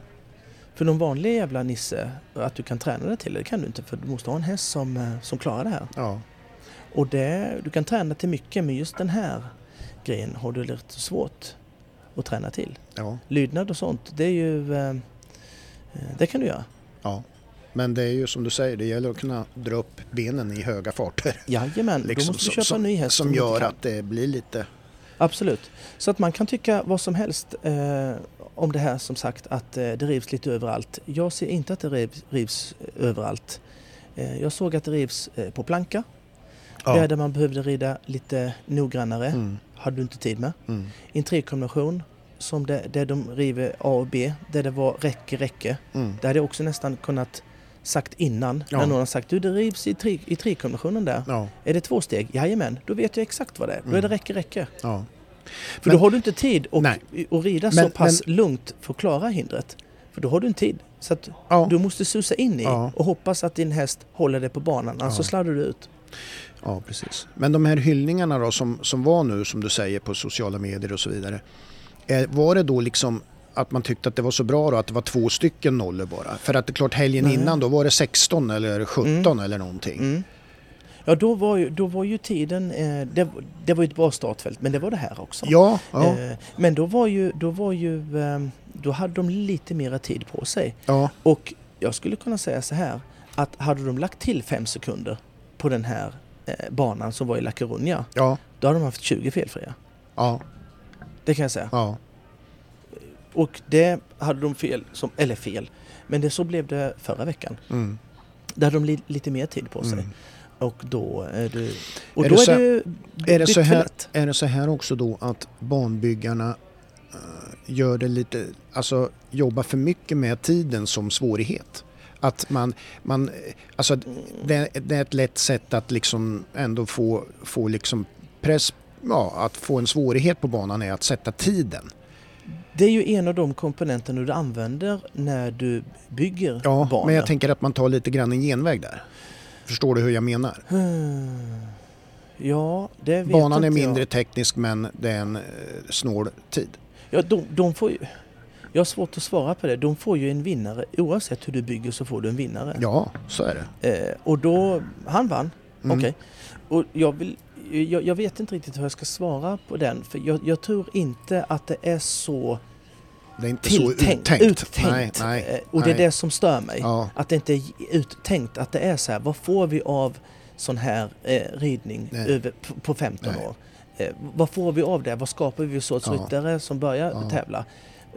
Speaker 1: För någon vanlig jävla nisse, att du kan träna dig till det, det kan du inte för du måste ha en häst som, eh, som klarar det här.
Speaker 2: ja,
Speaker 1: Och det, du kan träna till mycket men just den här grejen har du lite svårt. och träna till.
Speaker 2: Ja,
Speaker 1: Lydnad och sånt, det är ju... eh, Det kan du göra.
Speaker 2: ja. Men det är ju som du säger, det gäller att kunna dra upp benen i höga farter.
Speaker 1: Jajamän,
Speaker 2: Liksom,
Speaker 1: då måste du
Speaker 2: som-
Speaker 1: köpa
Speaker 2: som,
Speaker 1: en ny häst.
Speaker 2: Som
Speaker 1: du inte
Speaker 2: gör
Speaker 1: kan.
Speaker 2: att det blir lite...
Speaker 1: Absolut. Så att man kan tycka vad som helst eh, om det här som sagt att eh, det rivs lite överallt. Jag ser inte att det rivs, rivs överallt. Eh, jag såg att det rivs eh, på planka, där, där man behövde rida lite noggrannare.
Speaker 2: Mm,
Speaker 1: Hade du inte tid med.
Speaker 2: mm,
Speaker 1: Intrig-kombination, som det, där de river A och B, där det var räcke, räcke.
Speaker 2: mm.
Speaker 1: Det hade jag också nästan kunnat sagt innan,
Speaker 2: Ja.
Speaker 1: när någon har sagt du det rivs i tri- i tri-kombinationen där.
Speaker 2: Ja,
Speaker 1: Är det två steg? Jajamän, då vet jag exakt vad det är. Då är det räcke, räcke.
Speaker 2: ja.
Speaker 1: För
Speaker 2: Men-
Speaker 1: då har du inte tid att
Speaker 2: Mm. Nej.
Speaker 1: att rida så
Speaker 2: Men-
Speaker 1: pass lugnt för att klara hindret. För då har du inte tid. Så att
Speaker 2: Ja.
Speaker 1: du måste susa in i
Speaker 2: Ja.
Speaker 1: och hoppas att din häst håller dig på banan, annars så sladdar du ut.
Speaker 2: Ja, precis. Men de här hyllningarna då som, som var nu, som du säger, på sociala medier och så vidare. eh, Var det då liksom att man tyckte att det var så bra då, att det var två stycken nollor bara? För att det är klart helgen innan då var det 16 eller 17
Speaker 1: Mm.
Speaker 2: eller någonting.
Speaker 1: Ja, då var ju, då var ju tiden... Eh, det, det var ju ett bra startfält, men det var det här också.
Speaker 2: Ja, ja,
Speaker 1: Eh, men då var ju... Då, var ju eh, då hade de lite mera tid på sig.
Speaker 2: ja,
Speaker 1: Och jag skulle kunna säga så här, att hade de lagt till fem sekunder på den här eh, banan som var i La Coruña,
Speaker 2: ja,
Speaker 1: då hade de haft 20 felfria.
Speaker 2: ja,
Speaker 1: Det kan jag säga.
Speaker 2: ja,
Speaker 1: Och det hade de fel, som, eller fel, men det så blev det förra veckan.
Speaker 2: mm.
Speaker 1: Där hade de li, lite mer tid på sig. Och då är det, och
Speaker 2: Är
Speaker 1: då
Speaker 2: det
Speaker 1: är
Speaker 2: så-
Speaker 1: det ju
Speaker 2: Är det,
Speaker 1: bytt
Speaker 2: så
Speaker 1: för
Speaker 2: här,
Speaker 1: lätt.
Speaker 2: är det så här också då att banbyggarna eh, gör det lite, alltså jobbar för mycket med tiden som svårighet? Att man, man eh, alltså det, det är ett lätt sätt att liksom ändå få, få liksom press, ja, att få en svårighet på banan är att sätta tiden.
Speaker 1: Det är ju en av de komponenterna du använder när du bygger
Speaker 2: Ja,
Speaker 1: banor.
Speaker 2: men jag tänker att man tar lite grann en genväg där. Förstår du hur jag menar?
Speaker 1: Hmm. Ja, det vet
Speaker 2: Banan
Speaker 1: inte
Speaker 2: är mindre
Speaker 1: Jag.
Speaker 2: teknisk men det är en eh, snål tid.
Speaker 1: Ja, de, de får ju, jag har svårt att svara på det. De får ju en vinnare. Oavsett hur du bygger så får du en vinnare.
Speaker 2: Ja, så är det.
Speaker 1: Eh, och då, han vann.
Speaker 2: Mm.
Speaker 1: Okej. Och jag, vill, jag, jag vet inte riktigt hur jag ska svara på den. För jag, jag tror inte att det är så
Speaker 2: Det är inte så
Speaker 1: tilltänkt.
Speaker 2: uttänkt. Nej,
Speaker 1: uttänkt.
Speaker 2: nej,
Speaker 1: Eh, och det är
Speaker 2: nej.
Speaker 1: det som stör mig.
Speaker 2: Ja,
Speaker 1: Att det inte är uttänkt. Att det är så här, vad får vi av sån här eh, ridning
Speaker 2: Nej.
Speaker 1: över, på, på 15
Speaker 2: Nej.
Speaker 1: år? Eh, vad får vi av det? Vad skapar vi för sorts
Speaker 2: Ja.
Speaker 1: ryttare som börjar
Speaker 2: Ja.
Speaker 1: tävla?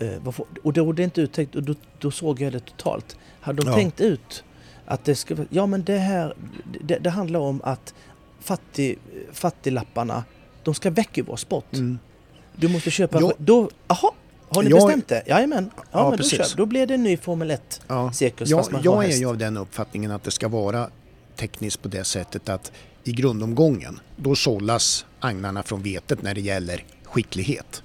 Speaker 1: Eh, vad får, och då är det inte uttänkt och då, då såg jag det totalt. Hade de
Speaker 2: Ja.
Speaker 1: tänkt ut att det ska vara- ja men det här, det, det handlar om att fattig, fattiglapparna, de ska väcka ur vår sport.
Speaker 2: mm.
Speaker 1: Du måste köpa,
Speaker 2: Jo.
Speaker 1: då, aha, har ni
Speaker 2: Jag-
Speaker 1: bestämt det? Jajamän, ja,
Speaker 2: Ja,
Speaker 1: men då,
Speaker 2: precis.
Speaker 1: kör, då blir det en ny Formel 1
Speaker 2: ja.
Speaker 1: cirkus
Speaker 2: Jag,
Speaker 1: fast man har
Speaker 2: jag är
Speaker 1: häst.
Speaker 2: ju av den uppfattningen att det ska vara tekniskt på det sättet att i grundomgången då sållas agnarna från vetet när det gäller skicklighet.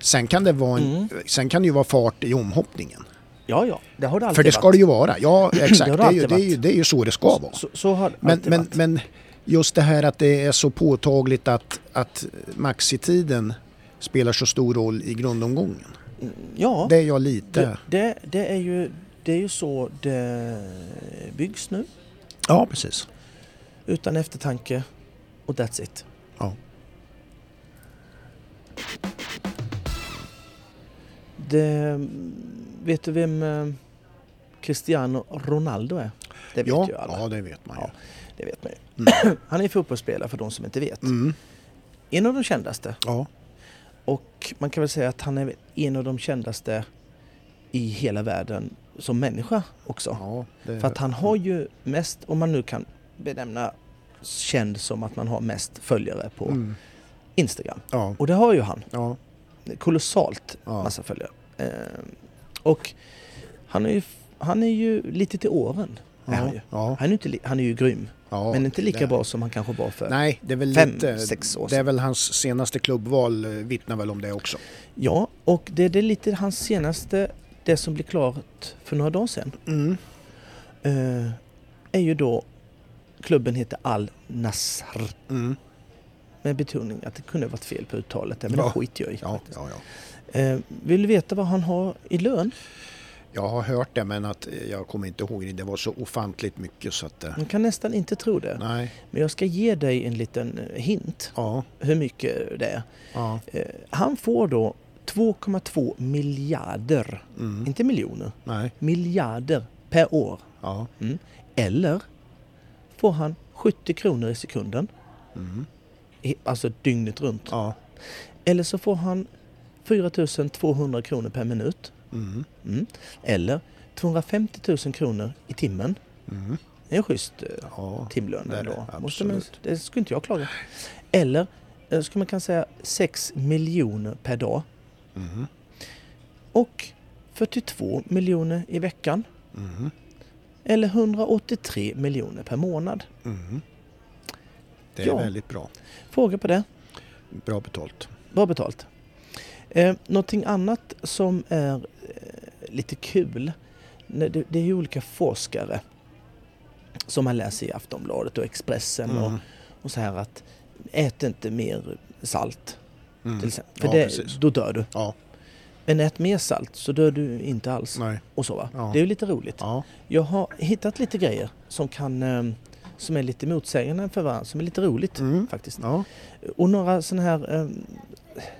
Speaker 2: Sen kan det, vara en,
Speaker 1: Mm.
Speaker 2: sen kan det ju vara fart i omhoppningen.
Speaker 1: Ja, ja, det har det alltid
Speaker 2: För det ska
Speaker 1: varit.
Speaker 2: det ju vara. Ja, exakt.
Speaker 1: har
Speaker 2: det,
Speaker 1: det
Speaker 2: är ju,
Speaker 1: alltid
Speaker 2: det, är ju,
Speaker 1: varit.
Speaker 2: det är ju så det ska vara.
Speaker 1: Så, så har det
Speaker 2: Men,
Speaker 1: alltid
Speaker 2: men,
Speaker 1: varit.
Speaker 2: men just det här att det är så påtagligt att, att maxitiden spelar så stor roll i grundomgången.
Speaker 1: ja,
Speaker 2: Det är jag lite...
Speaker 1: det, det, det, är ju, det är ju så det byggs nu.
Speaker 2: Ja, precis.
Speaker 1: Utan eftertanke och that's it.
Speaker 2: Ja.
Speaker 1: Det, vet du vem eh, Cristiano Ronaldo är? Det vet
Speaker 2: Ja,
Speaker 1: ju alla.
Speaker 2: ja, det vet man ju.
Speaker 1: Ja. Det vet man ju.
Speaker 2: Mm.
Speaker 1: Han är fotbollsspelare för de som inte vet. En av de kändaste.
Speaker 2: Ja.
Speaker 1: Och man kan väl säga att han är en av de kändaste i hela världen som människa också.
Speaker 2: Ja, det,
Speaker 1: För att han har ju mest, om man nu kan benämna känd som att man har mest följare på
Speaker 2: Mm.
Speaker 1: Instagram.
Speaker 2: ja,
Speaker 1: Och det har ju han.
Speaker 2: ja,
Speaker 1: Kolossalt
Speaker 2: Ja.
Speaker 1: massa följare. Eh, och han är, ju, han är ju lite till åren. Är han, ju.
Speaker 2: ja,
Speaker 1: Han, är inte, li- han är ju grym.
Speaker 2: ja,
Speaker 1: men inte lika
Speaker 2: det-
Speaker 1: bra som han kanske var för.
Speaker 2: Nej, det är väl
Speaker 1: Fem,
Speaker 2: lite,
Speaker 1: sex år
Speaker 2: Det är
Speaker 1: sedan.
Speaker 2: väl hans senaste klubbval eh, vittnar väl om det också.
Speaker 1: Ja, och det, det är lite hans senaste, det som blev klart för några dagar sedan.
Speaker 2: Mm.
Speaker 1: eh, är ju då klubben heter Al Nassr.
Speaker 2: Mm.
Speaker 1: Med betoning att det kunde varit fel på uttalet där, men
Speaker 2: Ja.
Speaker 1: det skiter jag i.
Speaker 2: Ja, ja, ja.
Speaker 1: Eh, vill du veta vad han har i lön?
Speaker 2: Jag har hört det men att eh, jag kommer inte ihåg det. Det var så ofantligt mycket så att... eh,
Speaker 1: Man kan nästan inte tro det.
Speaker 2: Nej,
Speaker 1: Men jag ska ge dig en liten eh, hint
Speaker 2: ja,
Speaker 1: hur mycket det är.
Speaker 2: ja,
Speaker 1: Eh, han får då 2,2 miljarder,
Speaker 2: Mm.
Speaker 1: inte miljoner,
Speaker 2: Nej.
Speaker 1: miljarder per år.
Speaker 2: Ja.
Speaker 1: Mm. Eller får han 70 kronor i sekunden, I, alltså dygnet runt.
Speaker 2: Mm. Ja.
Speaker 1: Eller så får han 4 200 kronor per minut.
Speaker 2: Mm.
Speaker 1: Mm. Eller 250 000 kronor i timmen.
Speaker 2: Mm.
Speaker 1: Det är en schysst eh,
Speaker 2: Ja.
Speaker 1: timlön
Speaker 2: det är
Speaker 1: ändå.
Speaker 2: det,
Speaker 1: Måste man,
Speaker 2: absolut.
Speaker 1: det skulle inte jag klaga. Eller eh, skulle man kunna säga 6 miljoner per dag.
Speaker 2: Mm.
Speaker 1: Och 42 miljoner i veckan.
Speaker 2: Mm.
Speaker 1: Eller 183 miljoner per månad.
Speaker 2: Mm. Det är
Speaker 1: Ja.
Speaker 2: väldigt bra.
Speaker 1: Fråga på det.
Speaker 2: Bra betalt.
Speaker 1: Bra betalt. Eh, någonting annat som är eh, lite kul, när det, det är ju olika forskare som man läser i Aftonbladet och Expressen och,
Speaker 2: Mm.
Speaker 1: och så här att ät inte mer salt
Speaker 2: Mm.
Speaker 1: till exempel. För
Speaker 2: Ja, precis.
Speaker 1: det, då dör du.
Speaker 2: Ja,
Speaker 1: Men ät mer salt så dör du inte alls.
Speaker 2: nej.
Speaker 1: Och så va?
Speaker 2: Ja.
Speaker 1: Det är ju lite roligt.
Speaker 2: Ja.
Speaker 1: Jag har hittat lite grejer som kan eh, som är lite motsägande för varandra, som är lite roligt
Speaker 2: Mm.
Speaker 1: faktiskt.
Speaker 2: Ja.
Speaker 1: Och några sådana här eh,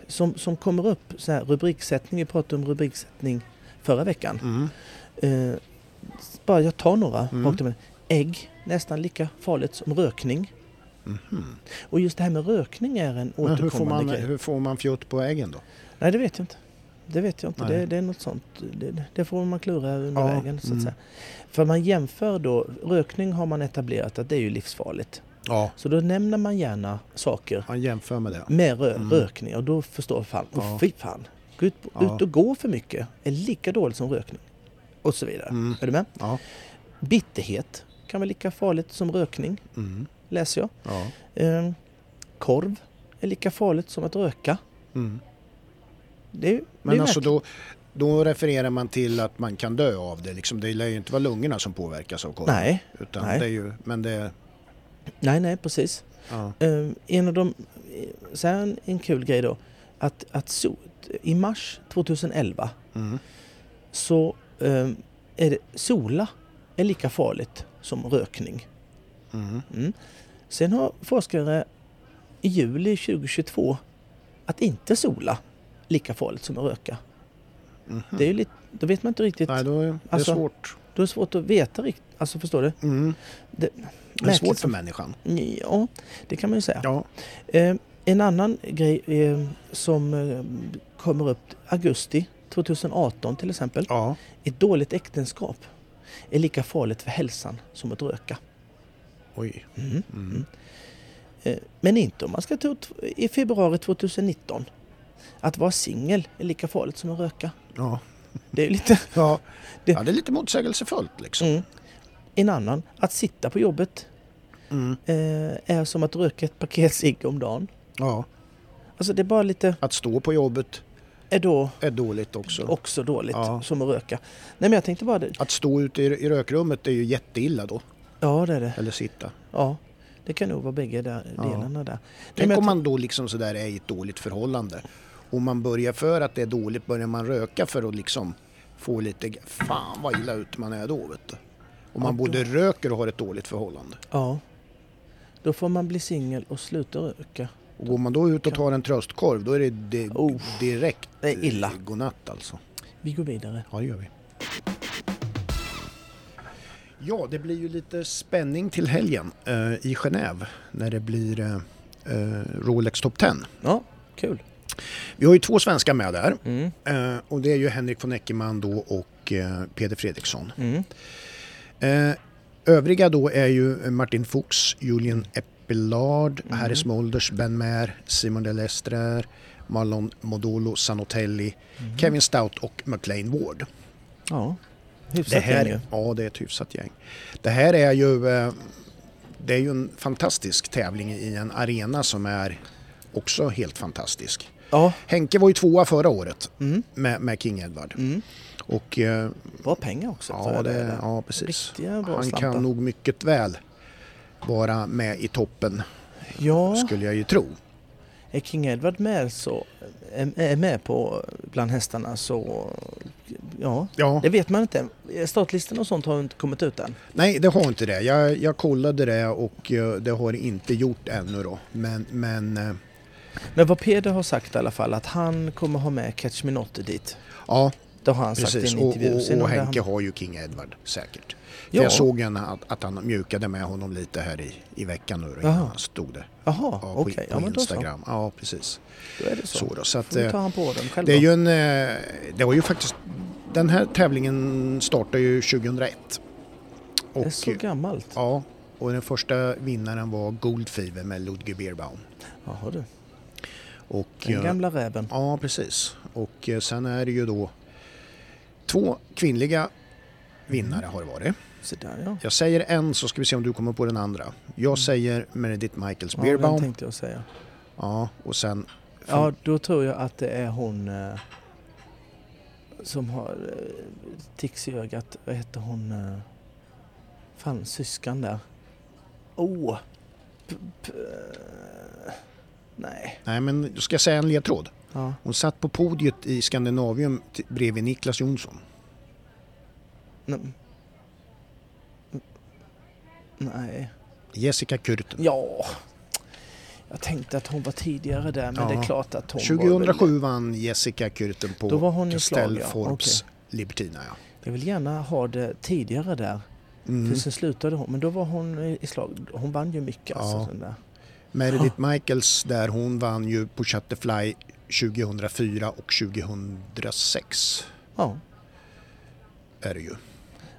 Speaker 1: som, som kommer upp, så här rubriksättning, vi pratade om rubriksättning förra veckan.
Speaker 2: Mm.
Speaker 1: Eh, bara jag tar några
Speaker 2: Mm.
Speaker 1: rakt upp. Ägg, nästan lika farligt som rökning.
Speaker 2: Mhm.
Speaker 1: Och just det här med rökning är en
Speaker 2: Men hur får,
Speaker 1: återkommande
Speaker 2: man,
Speaker 1: grej.
Speaker 2: hur får man fjutt på äggen då?
Speaker 1: Nej, det vet jag inte. Det vet jag inte.
Speaker 2: Nej.
Speaker 1: Det, det är något sånt. Det, det får man klura under
Speaker 2: Ja,
Speaker 1: vägen så att
Speaker 2: mm.
Speaker 1: säga. För man jämför då, rökning har man etablerat att det är ju livsfarligt.
Speaker 2: Ja.
Speaker 1: Så då nämner man gärna saker
Speaker 2: Man jämför med det.
Speaker 1: med rö-
Speaker 2: Mm.
Speaker 1: rökning och då förstår fan,
Speaker 2: Ja.
Speaker 1: och fy fan, gå ut, gå
Speaker 2: Ja.
Speaker 1: ut och gå för mycket är lika dåligt som rökning. Och så vidare.
Speaker 2: Mm.
Speaker 1: Är du med?
Speaker 2: Ja.
Speaker 1: Bitterhet kan vara lika farligt som rökning,
Speaker 2: Mm.
Speaker 1: läser jag.
Speaker 2: Ja.
Speaker 1: Ehm, korv är lika farligt som att röka.
Speaker 2: Mm.
Speaker 1: Det är, ju- det är
Speaker 2: Men
Speaker 1: ju
Speaker 2: alltså
Speaker 1: märkligt.
Speaker 2: då, då refererar man till att man kan dö av det. Liksom, det lär ju inte vara lungorna som påverkas av korven.
Speaker 1: Nej,
Speaker 2: Utan
Speaker 1: nej.
Speaker 2: Det är ju, men det...
Speaker 1: nej, nej, precis.
Speaker 2: Ja.
Speaker 1: Ehm, en av de, sen en kul grej då, att, att so, i mars 2011
Speaker 2: Mm.
Speaker 1: så ehm, är det, sola är lika farligt som rökning.
Speaker 2: Mm.
Speaker 1: Mm. Sen har forskare i juli 2022 att inte sola lika farligt som att röka.
Speaker 2: Mhm.
Speaker 1: Det är ju lite, då vet man inte riktigt.
Speaker 2: Nej, då är det
Speaker 1: Alltså-
Speaker 2: svårt.
Speaker 1: Då är det svårt att veta riktigt. Alltså förstår du?
Speaker 2: Mm.
Speaker 1: Det,
Speaker 2: Det är svårt för människan.
Speaker 1: mig. Ja, det kan man ju säga.
Speaker 2: Ja.
Speaker 1: Eh, en annan grej eh, som eh, kommer upp augusti 2018 till exempel.
Speaker 2: Ja.
Speaker 1: Ett dåligt äktenskap är lika farligt för hälsan som att röka.
Speaker 2: Oj.
Speaker 1: Mm.
Speaker 2: Mm.
Speaker 1: Eh, Men inte om man ska ta ut i februari 2019. Att vara singel är lika farligt som att röka.
Speaker 2: Ja.
Speaker 1: Det är ju lite...
Speaker 2: Ja.
Speaker 1: Det-
Speaker 2: ja, det är lite motsägelsefullt liksom.
Speaker 1: Mm. En annan, att sitta på jobbet
Speaker 2: Mm.
Speaker 1: eh, är som att röka ett paket cigg om dagen.
Speaker 2: Ja.
Speaker 1: Alltså det är bara lite,
Speaker 2: Att stå på jobbet
Speaker 1: är då
Speaker 2: är dåligt också.
Speaker 1: också dåligt
Speaker 2: Ja.
Speaker 1: som att röka. Nej men jag tänkte bara, det-
Speaker 2: Att stå ute i, i rökrummet är ju jätteilla då.
Speaker 1: ja det är det.
Speaker 2: Eller sitta.
Speaker 1: Ja, det kan nog vara bägge där,
Speaker 2: Ja.
Speaker 1: delarna där. Nej, men
Speaker 2: Tänk
Speaker 1: jag
Speaker 2: om man då liksom sådär är i ett dåligt förhållande. Och man börjar för att det är dåligt börjar man röka för att liksom få lite... Fan vad illa ut man är då vet du. Om man
Speaker 1: Ja, då-
Speaker 2: både röker och har ett dåligt förhållande.
Speaker 1: Ja. Då får man bli singel och sluta röka.
Speaker 2: Och går man då ut och tar en tröstkorv då är det di-
Speaker 1: Oh.
Speaker 2: direkt
Speaker 1: Det är illa.
Speaker 2: eh, godnatt alltså.
Speaker 1: Vi går vidare.
Speaker 2: Ja, det gör vi. Ja, det blir ju lite spänning till helgen eh, i Genève när det blir eh, eh, Rolex Top 10.
Speaker 1: Ja, kul.
Speaker 2: Vi har ju två svenskar med där
Speaker 1: Mm.
Speaker 2: eh, och det är ju Henrik von Eckermann då och eh, Peder Fredriksson.
Speaker 1: Mm.
Speaker 2: Eh, övriga då är ju Martin Fuchs, Julian Eppelard,
Speaker 1: Mm.
Speaker 2: Harris Molders, Ben Maher, Simon Delestre, Marlon Modolo, Sanotelli,
Speaker 1: Mm.
Speaker 2: Kevin Stout och McLean Ward.
Speaker 1: Ja,
Speaker 2: Det
Speaker 1: hyfsat
Speaker 2: här,
Speaker 1: gäng ju.
Speaker 2: ja, det är ett hyfsat gäng. Det här är ju, eh, det är ju en fantastisk tävling i en arena som är också helt fantastisk.
Speaker 1: Ja,
Speaker 2: Henke var ju tvåa förra året
Speaker 1: Mm.
Speaker 2: med, med King Edward.
Speaker 1: Mm.
Speaker 2: Och eh,
Speaker 1: bra pengar också. tror
Speaker 2: ja,
Speaker 1: jag är
Speaker 2: det,
Speaker 1: där.
Speaker 2: ja, precis.
Speaker 1: Riktiga bra
Speaker 2: Han
Speaker 1: slantar.
Speaker 2: kan nog mycket väl vara med i toppen
Speaker 1: ja,
Speaker 2: skulle jag ju tro.
Speaker 1: är King Edward med så, är, är med på bland hästarna så, ja.
Speaker 2: Ja,
Speaker 1: Det vet man inte. Startlistan och sånt har inte kommit ut än.
Speaker 2: nej det har inte det. Jag, jag kollade det och eh, det har det inte gjort ännu då. Men, men eh,
Speaker 1: Men vad Peder har sagt i alla fall, att han kommer ha med Catch Me Not dit.
Speaker 2: Ja,
Speaker 1: Det har han sagt
Speaker 2: precis.
Speaker 1: i en
Speaker 2: Och,
Speaker 1: intervju. Sen
Speaker 2: och,
Speaker 1: om
Speaker 2: och
Speaker 1: det
Speaker 2: Henke
Speaker 1: han...
Speaker 2: har ju King Edward säkert. För
Speaker 1: Ja.
Speaker 2: Jag såg en, att, att han mjukade med honom lite här i, i veckan nu då, innan
Speaker 1: Jaha.
Speaker 2: han stod det.
Speaker 1: Jaha,
Speaker 2: Ja, på,
Speaker 1: okej. Ja,
Speaker 2: på
Speaker 1: men då så.
Speaker 2: Instagram. Ja, precis.
Speaker 1: Då är det så.
Speaker 2: Så då, så att,
Speaker 1: Då
Speaker 2: eh,
Speaker 1: tar han på den själv.
Speaker 2: Det är
Speaker 1: då.
Speaker 2: ju en... eh, Det var ju faktiskt... Den här tävlingen startade ju 2001.
Speaker 1: Det är
Speaker 2: Och,
Speaker 1: så gammalt.
Speaker 2: ja, och den första vinnaren var Goldfever med Ludwig Beerbaum.
Speaker 1: Jaha du,
Speaker 2: Och,
Speaker 1: den
Speaker 2: eh,
Speaker 1: gamla räven.
Speaker 2: Ja, precis. Och eh, sen är det ju då två kvinnliga vinnare
Speaker 1: Mm.
Speaker 2: har det varit.
Speaker 1: Så där ja.
Speaker 2: Jag säger en så ska vi se om du kommer på den andra. Jag säger Meredith Michaels
Speaker 1: Mm. Ja, den
Speaker 2: Beerbaum.
Speaker 1: tänkte jag säga.
Speaker 2: Ja, och sen...
Speaker 1: Ja, då tror jag att det är hon eh, som har eh, tics i ögat. Vad heter hon? Eh, fan, syskan där. Oh! P -p eh, nej.
Speaker 2: Nej, men då ska jag säga en ledtråd.
Speaker 1: Ja.
Speaker 2: Hon satt på podiet i Skandinavium t- bredvid Niklas Jonsson.
Speaker 1: Nej. nej.
Speaker 2: Jessica Kürten.
Speaker 1: Ja. Jag tänkte att hon var tidigare där, men
Speaker 2: Ja.
Speaker 1: det är klart att hon var... väl-
Speaker 2: 2007 vann Jessica Kürten på
Speaker 1: Då var hon i slag,
Speaker 2: Castell
Speaker 1: ja.
Speaker 2: Forbes Libertina. Ja.
Speaker 1: Jag vill gärna ha det tidigare där.
Speaker 2: Mm.
Speaker 1: För sen slutade hon, men då var hon i i slag. Hon vann ju mycket
Speaker 2: Ja.
Speaker 1: alltså. Den där.
Speaker 2: Meredith Michaels där hon vann ju på Shutterfly 2004 och 2006
Speaker 1: Ja,
Speaker 2: är det ju.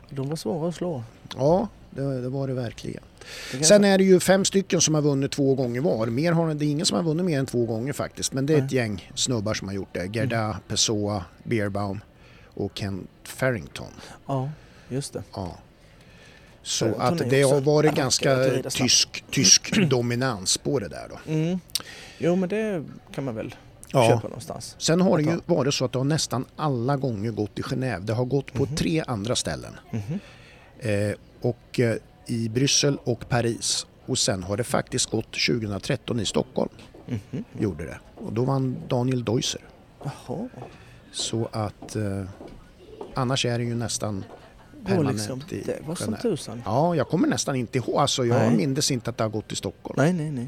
Speaker 1: de var svåra att slå.
Speaker 2: Ja, det, det var det verkligen.
Speaker 1: Det kan
Speaker 2: Sen
Speaker 1: jag-
Speaker 2: är det ju fem stycken som har vunnit två gånger var. Mer har, det är ingen som har vunnit mer än två gånger faktiskt. Men det är ett
Speaker 1: Nej. Mm.
Speaker 2: gäng snubbar som har gjort det. Gerda, Pessoa, Beerbaum och Kent Farrington.
Speaker 1: Ja, just det.
Speaker 2: Ja. Så
Speaker 1: Farrington är
Speaker 2: att
Speaker 1: ju
Speaker 2: det
Speaker 1: också
Speaker 2: har varit
Speaker 1: en- ska jag
Speaker 2: ganska
Speaker 1: rida snabbt?
Speaker 2: tysk, tysk dominans på det där då.
Speaker 1: Mm. Jo, men det kan man väl
Speaker 2: Ja.
Speaker 1: köpa någonstans.
Speaker 2: Sen har det ju
Speaker 1: Ett
Speaker 2: varit så att det har nästan alla gånger gått i Genève. Det har gått på
Speaker 1: Mhm.
Speaker 2: tre andra ställen. Eh, och eh, i Bryssel och Paris. Och sen har det faktiskt gått 2013 i Stockholm.
Speaker 1: Mhm.
Speaker 2: Gjorde det. Och då vann Daniel Deuser.
Speaker 1: Jaha.
Speaker 2: Så att eh, annars är det ju nästan
Speaker 1: Det var,
Speaker 2: permanent
Speaker 1: liksom,
Speaker 2: i
Speaker 1: det var som
Speaker 2: Genève.
Speaker 1: tusan.
Speaker 2: Ja, jag kommer nästan inte ihåg. Alltså jag
Speaker 1: Nej.
Speaker 2: mindes inte att det har gått i Stockholm.
Speaker 1: Nej, nej, nej.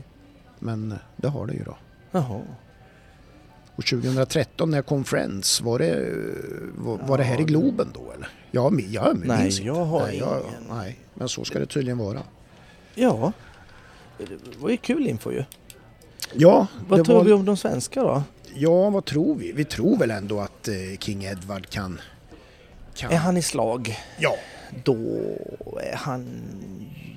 Speaker 2: Men eh, det har det ju då.
Speaker 1: Jaha.
Speaker 2: Och 2013 när Conference, var det, var, var det här i Globen då eller? Ja, men- jag minns
Speaker 1: Nej,
Speaker 2: inte.
Speaker 1: jag har
Speaker 2: nej,
Speaker 1: ingen.
Speaker 2: nej, men så ska det tydligen vara.
Speaker 1: Ja. Det var ju kul info ju.
Speaker 2: Ja,
Speaker 1: Vad
Speaker 2: det
Speaker 1: tror
Speaker 2: var,
Speaker 1: vi om de svenska då?
Speaker 2: ja, vad tror vi? Vi tror väl ändå att eh, King Edward kan... kan
Speaker 1: Är han i slag,
Speaker 2: Ja,
Speaker 1: då, är han,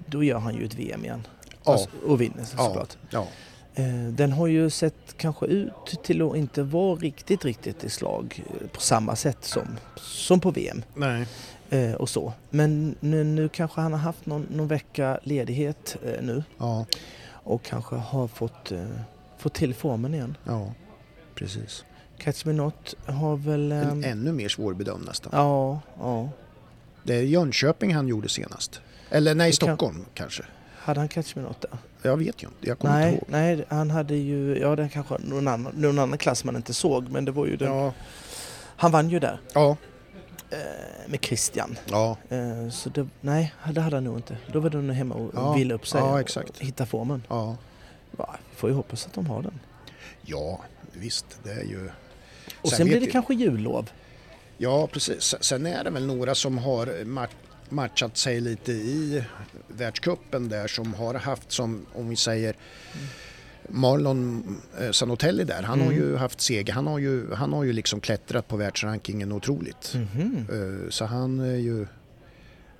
Speaker 1: då gör han ju ett VM igen.
Speaker 2: Ja.
Speaker 1: Alltså, och vinner
Speaker 2: ja,
Speaker 1: såklart.
Speaker 2: ja,
Speaker 1: Eh, Den har ju sett kanske ut till att inte vara riktigt, riktigt i slag eh, på samma sätt som, som på VM
Speaker 2: nej,
Speaker 1: eh, och så. Men nu, nu kanske han har haft någon, någon vecka ledighet eh, nu
Speaker 2: ja,
Speaker 1: och kanske har fått, eh, fått till formen igen.
Speaker 2: ja, precis.
Speaker 1: Catch Me Not har väl...
Speaker 2: Men
Speaker 1: ehm,
Speaker 2: ännu mer svårbedömd nästan.
Speaker 1: ja, ja.
Speaker 2: Det är Jönköping han gjorde senast. Eller nej,
Speaker 1: Det kan-
Speaker 2: Stockholm kanske.
Speaker 1: Hade han Catch Me Not där?
Speaker 2: Jag vet ju inte, jag kommer
Speaker 1: Nej,
Speaker 2: inte ihåg.
Speaker 1: nej, han hade ju... Ja, det kanske någon annan, någon annan klass man inte såg, men det var ju den.
Speaker 2: Ja,
Speaker 1: Han vann ju där
Speaker 2: ja,
Speaker 1: eh, med Christian.
Speaker 2: ja,
Speaker 1: Eh, Så det, nej, det hade han nog inte. Då var de nog hemma och
Speaker 2: Ja,
Speaker 1: vila upp sig
Speaker 2: ja,
Speaker 1: och
Speaker 2: exakt.
Speaker 1: hitta formen.
Speaker 2: ja.
Speaker 1: Ja, vi får ju hoppas att de har den.
Speaker 2: Ja, visst, det är ju...
Speaker 1: Och sen,
Speaker 2: vet
Speaker 1: blir det
Speaker 2: ju-
Speaker 1: kanske jullov.
Speaker 2: Ja, precis. Sen- Sen är det väl några som har ma- matchat sig lite i världscupen där som har haft som, om vi säger Marlon eh, Sanotelli där, han
Speaker 1: Mm.
Speaker 2: har ju haft seger. Han har ju, han har ju liksom klättrat på världsrankingen otroligt.
Speaker 1: Mhm.
Speaker 2: Eh, Så han är ju...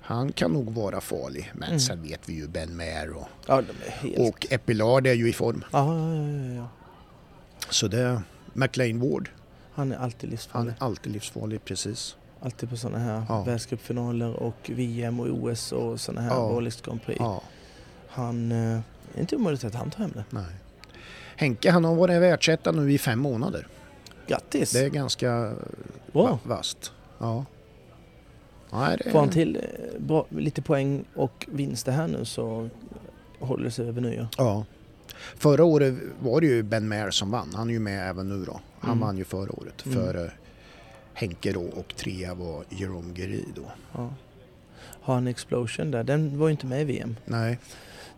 Speaker 2: Han kan nog vara farlig. Men
Speaker 1: Mm.
Speaker 2: sen vet vi ju Ben Maher och,
Speaker 1: Ja, de är helt...
Speaker 2: och Epilard är ju i form.
Speaker 1: Ja, ja, ja, ja, ja.
Speaker 2: Så det... McLean Ward,
Speaker 1: Han är alltid
Speaker 2: han
Speaker 1: livsfarlig.
Speaker 2: är alltid livsfarlig, precis.
Speaker 1: Alltid på sådana här
Speaker 2: Ja.
Speaker 1: världscupfinaler och VM och OS och sådana här
Speaker 2: Ja.
Speaker 1: Borlängs Grand Prix.
Speaker 2: Ja.
Speaker 1: Han... eh, Det är inte omöjligt att han tar hem det.
Speaker 2: Nej. Henke han har varit världsetta nu i fem månader.
Speaker 1: Grattis!
Speaker 2: Det är ganska
Speaker 1: Bra!
Speaker 2: vast. Ja. Nej, det
Speaker 1: Får han
Speaker 2: är...
Speaker 1: till eh, bra, lite poäng och vinst det här nu så håller det sig över nyår.
Speaker 2: ja. Förra året var det ju Ben Maher som vann. Han är ju med även nu då. Han
Speaker 1: Mm.
Speaker 2: vann ju förra året.
Speaker 1: Mm.
Speaker 2: För eh, Henke då och trea var Jerome Guéry då.
Speaker 1: Ja. Har han Explosion där? Den var ju inte med i VM.
Speaker 2: Nej,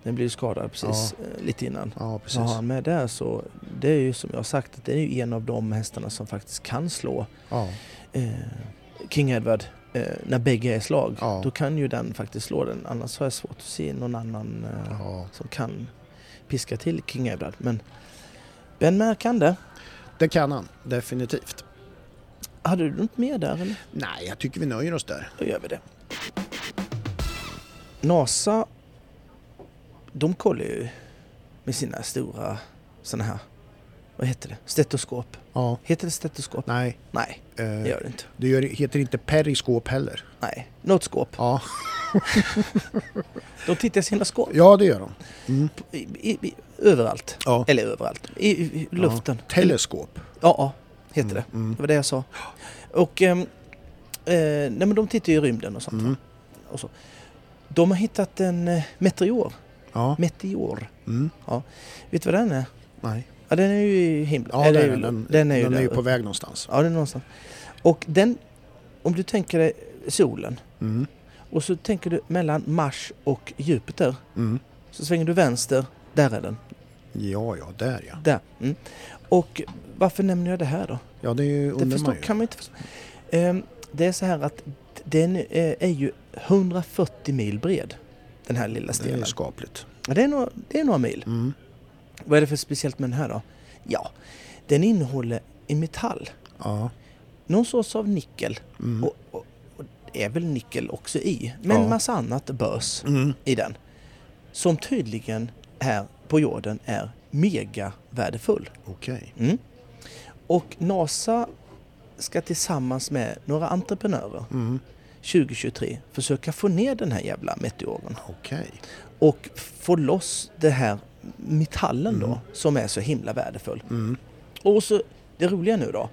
Speaker 1: Den blev ju skadad precis eh, lite innan.
Speaker 2: Ja,
Speaker 1: Så har
Speaker 2: precis.
Speaker 1: han med där så, det är ju som jag har sagt, att det är ju en av de hästarna som faktiskt kan slå
Speaker 2: Ja,
Speaker 1: eh, King Edward eh, när bägge är i slag.
Speaker 2: Ja.
Speaker 1: Då kan ju den faktiskt slå den, annars har jag svårt att se någon annan eh,
Speaker 2: ja.
Speaker 1: som kan piska till King Edward. Men Ben Mer kan det.
Speaker 2: Det kan han, definitivt.
Speaker 1: Hade du något mer där eller?
Speaker 2: Nej, jag tycker vi nöjer oss där.
Speaker 1: Då gör vi det. NASA, de kollar ju med sina stora sådana här, vad heter det, stetoskop.
Speaker 2: Ja.
Speaker 1: Heter det stetoskop?
Speaker 2: Nej,
Speaker 1: Nej, det
Speaker 2: eh,
Speaker 1: gör det inte.
Speaker 2: det gör- heter inte periskop heller.
Speaker 1: Nej, något skåp.
Speaker 2: Ja,
Speaker 1: De tittar i sina skåp
Speaker 2: ja det gör de.
Speaker 1: i, i, i, överallt.
Speaker 2: Ja.
Speaker 1: Eller överallt, i, i luften.
Speaker 2: Ja. Mm, Teleskop.
Speaker 1: Ja, ja, heter det. Det var det jag sa. Och ehm, eh, nej, men de tittar ju i rymden och sånt.
Speaker 2: Mm.
Speaker 1: va? Och så. De har hittat en eh, meteor.
Speaker 2: Ja.
Speaker 1: Meteor.
Speaker 2: Mm.
Speaker 1: Ja. Vet du vad den är?
Speaker 2: Nej.
Speaker 1: Ja, den är ju i himlen.
Speaker 2: Ja,
Speaker 1: Eller
Speaker 2: den,
Speaker 1: ju-
Speaker 2: den,
Speaker 1: den är ju där
Speaker 2: på
Speaker 1: uppe.
Speaker 2: väg någonstans.
Speaker 1: Ja, den är någonstans. Och den, om du tänker dig solen
Speaker 2: Mm.
Speaker 1: och så tänker du mellan Mars och Jupiter.
Speaker 2: Mm.
Speaker 1: Så svänger du vänster, där är den.
Speaker 2: Ja, ja, där ja.
Speaker 1: Där. Mm. Och varför nämner jag det här då?
Speaker 2: Ja, det är ju
Speaker 1: Det
Speaker 2: undrar
Speaker 1: förstår,
Speaker 2: man ju.
Speaker 1: kan man inte förstå. Ehm, det är så här att den eh, är ju 140 mil bred. Den här lilla
Speaker 2: Det är
Speaker 1: stenen.
Speaker 2: skapligt.
Speaker 1: Ja, Det är, några, det är några mil.
Speaker 2: Mm.
Speaker 1: Vad är det för speciellt med den här då? Ja, den innehåller en metall.
Speaker 2: Ja.
Speaker 1: Någon sorts av nickel.
Speaker 2: Mm.
Speaker 1: Och, och, och det är väl nickel också i. Men
Speaker 2: Ja.
Speaker 1: massa annat bös
Speaker 2: Mm.
Speaker 1: i den. Som tydligen här på jorden är mega värdefull.
Speaker 2: Okej.
Speaker 1: Mm. Och NASA ska tillsammans med några entreprenörer
Speaker 2: Mm.
Speaker 1: 2023 försöka få ner den här jävla meteoren
Speaker 2: Okej.
Speaker 1: och få loss den här metallen
Speaker 2: Mm.
Speaker 1: då som är så himla värdefull. Och så det roliga nu då.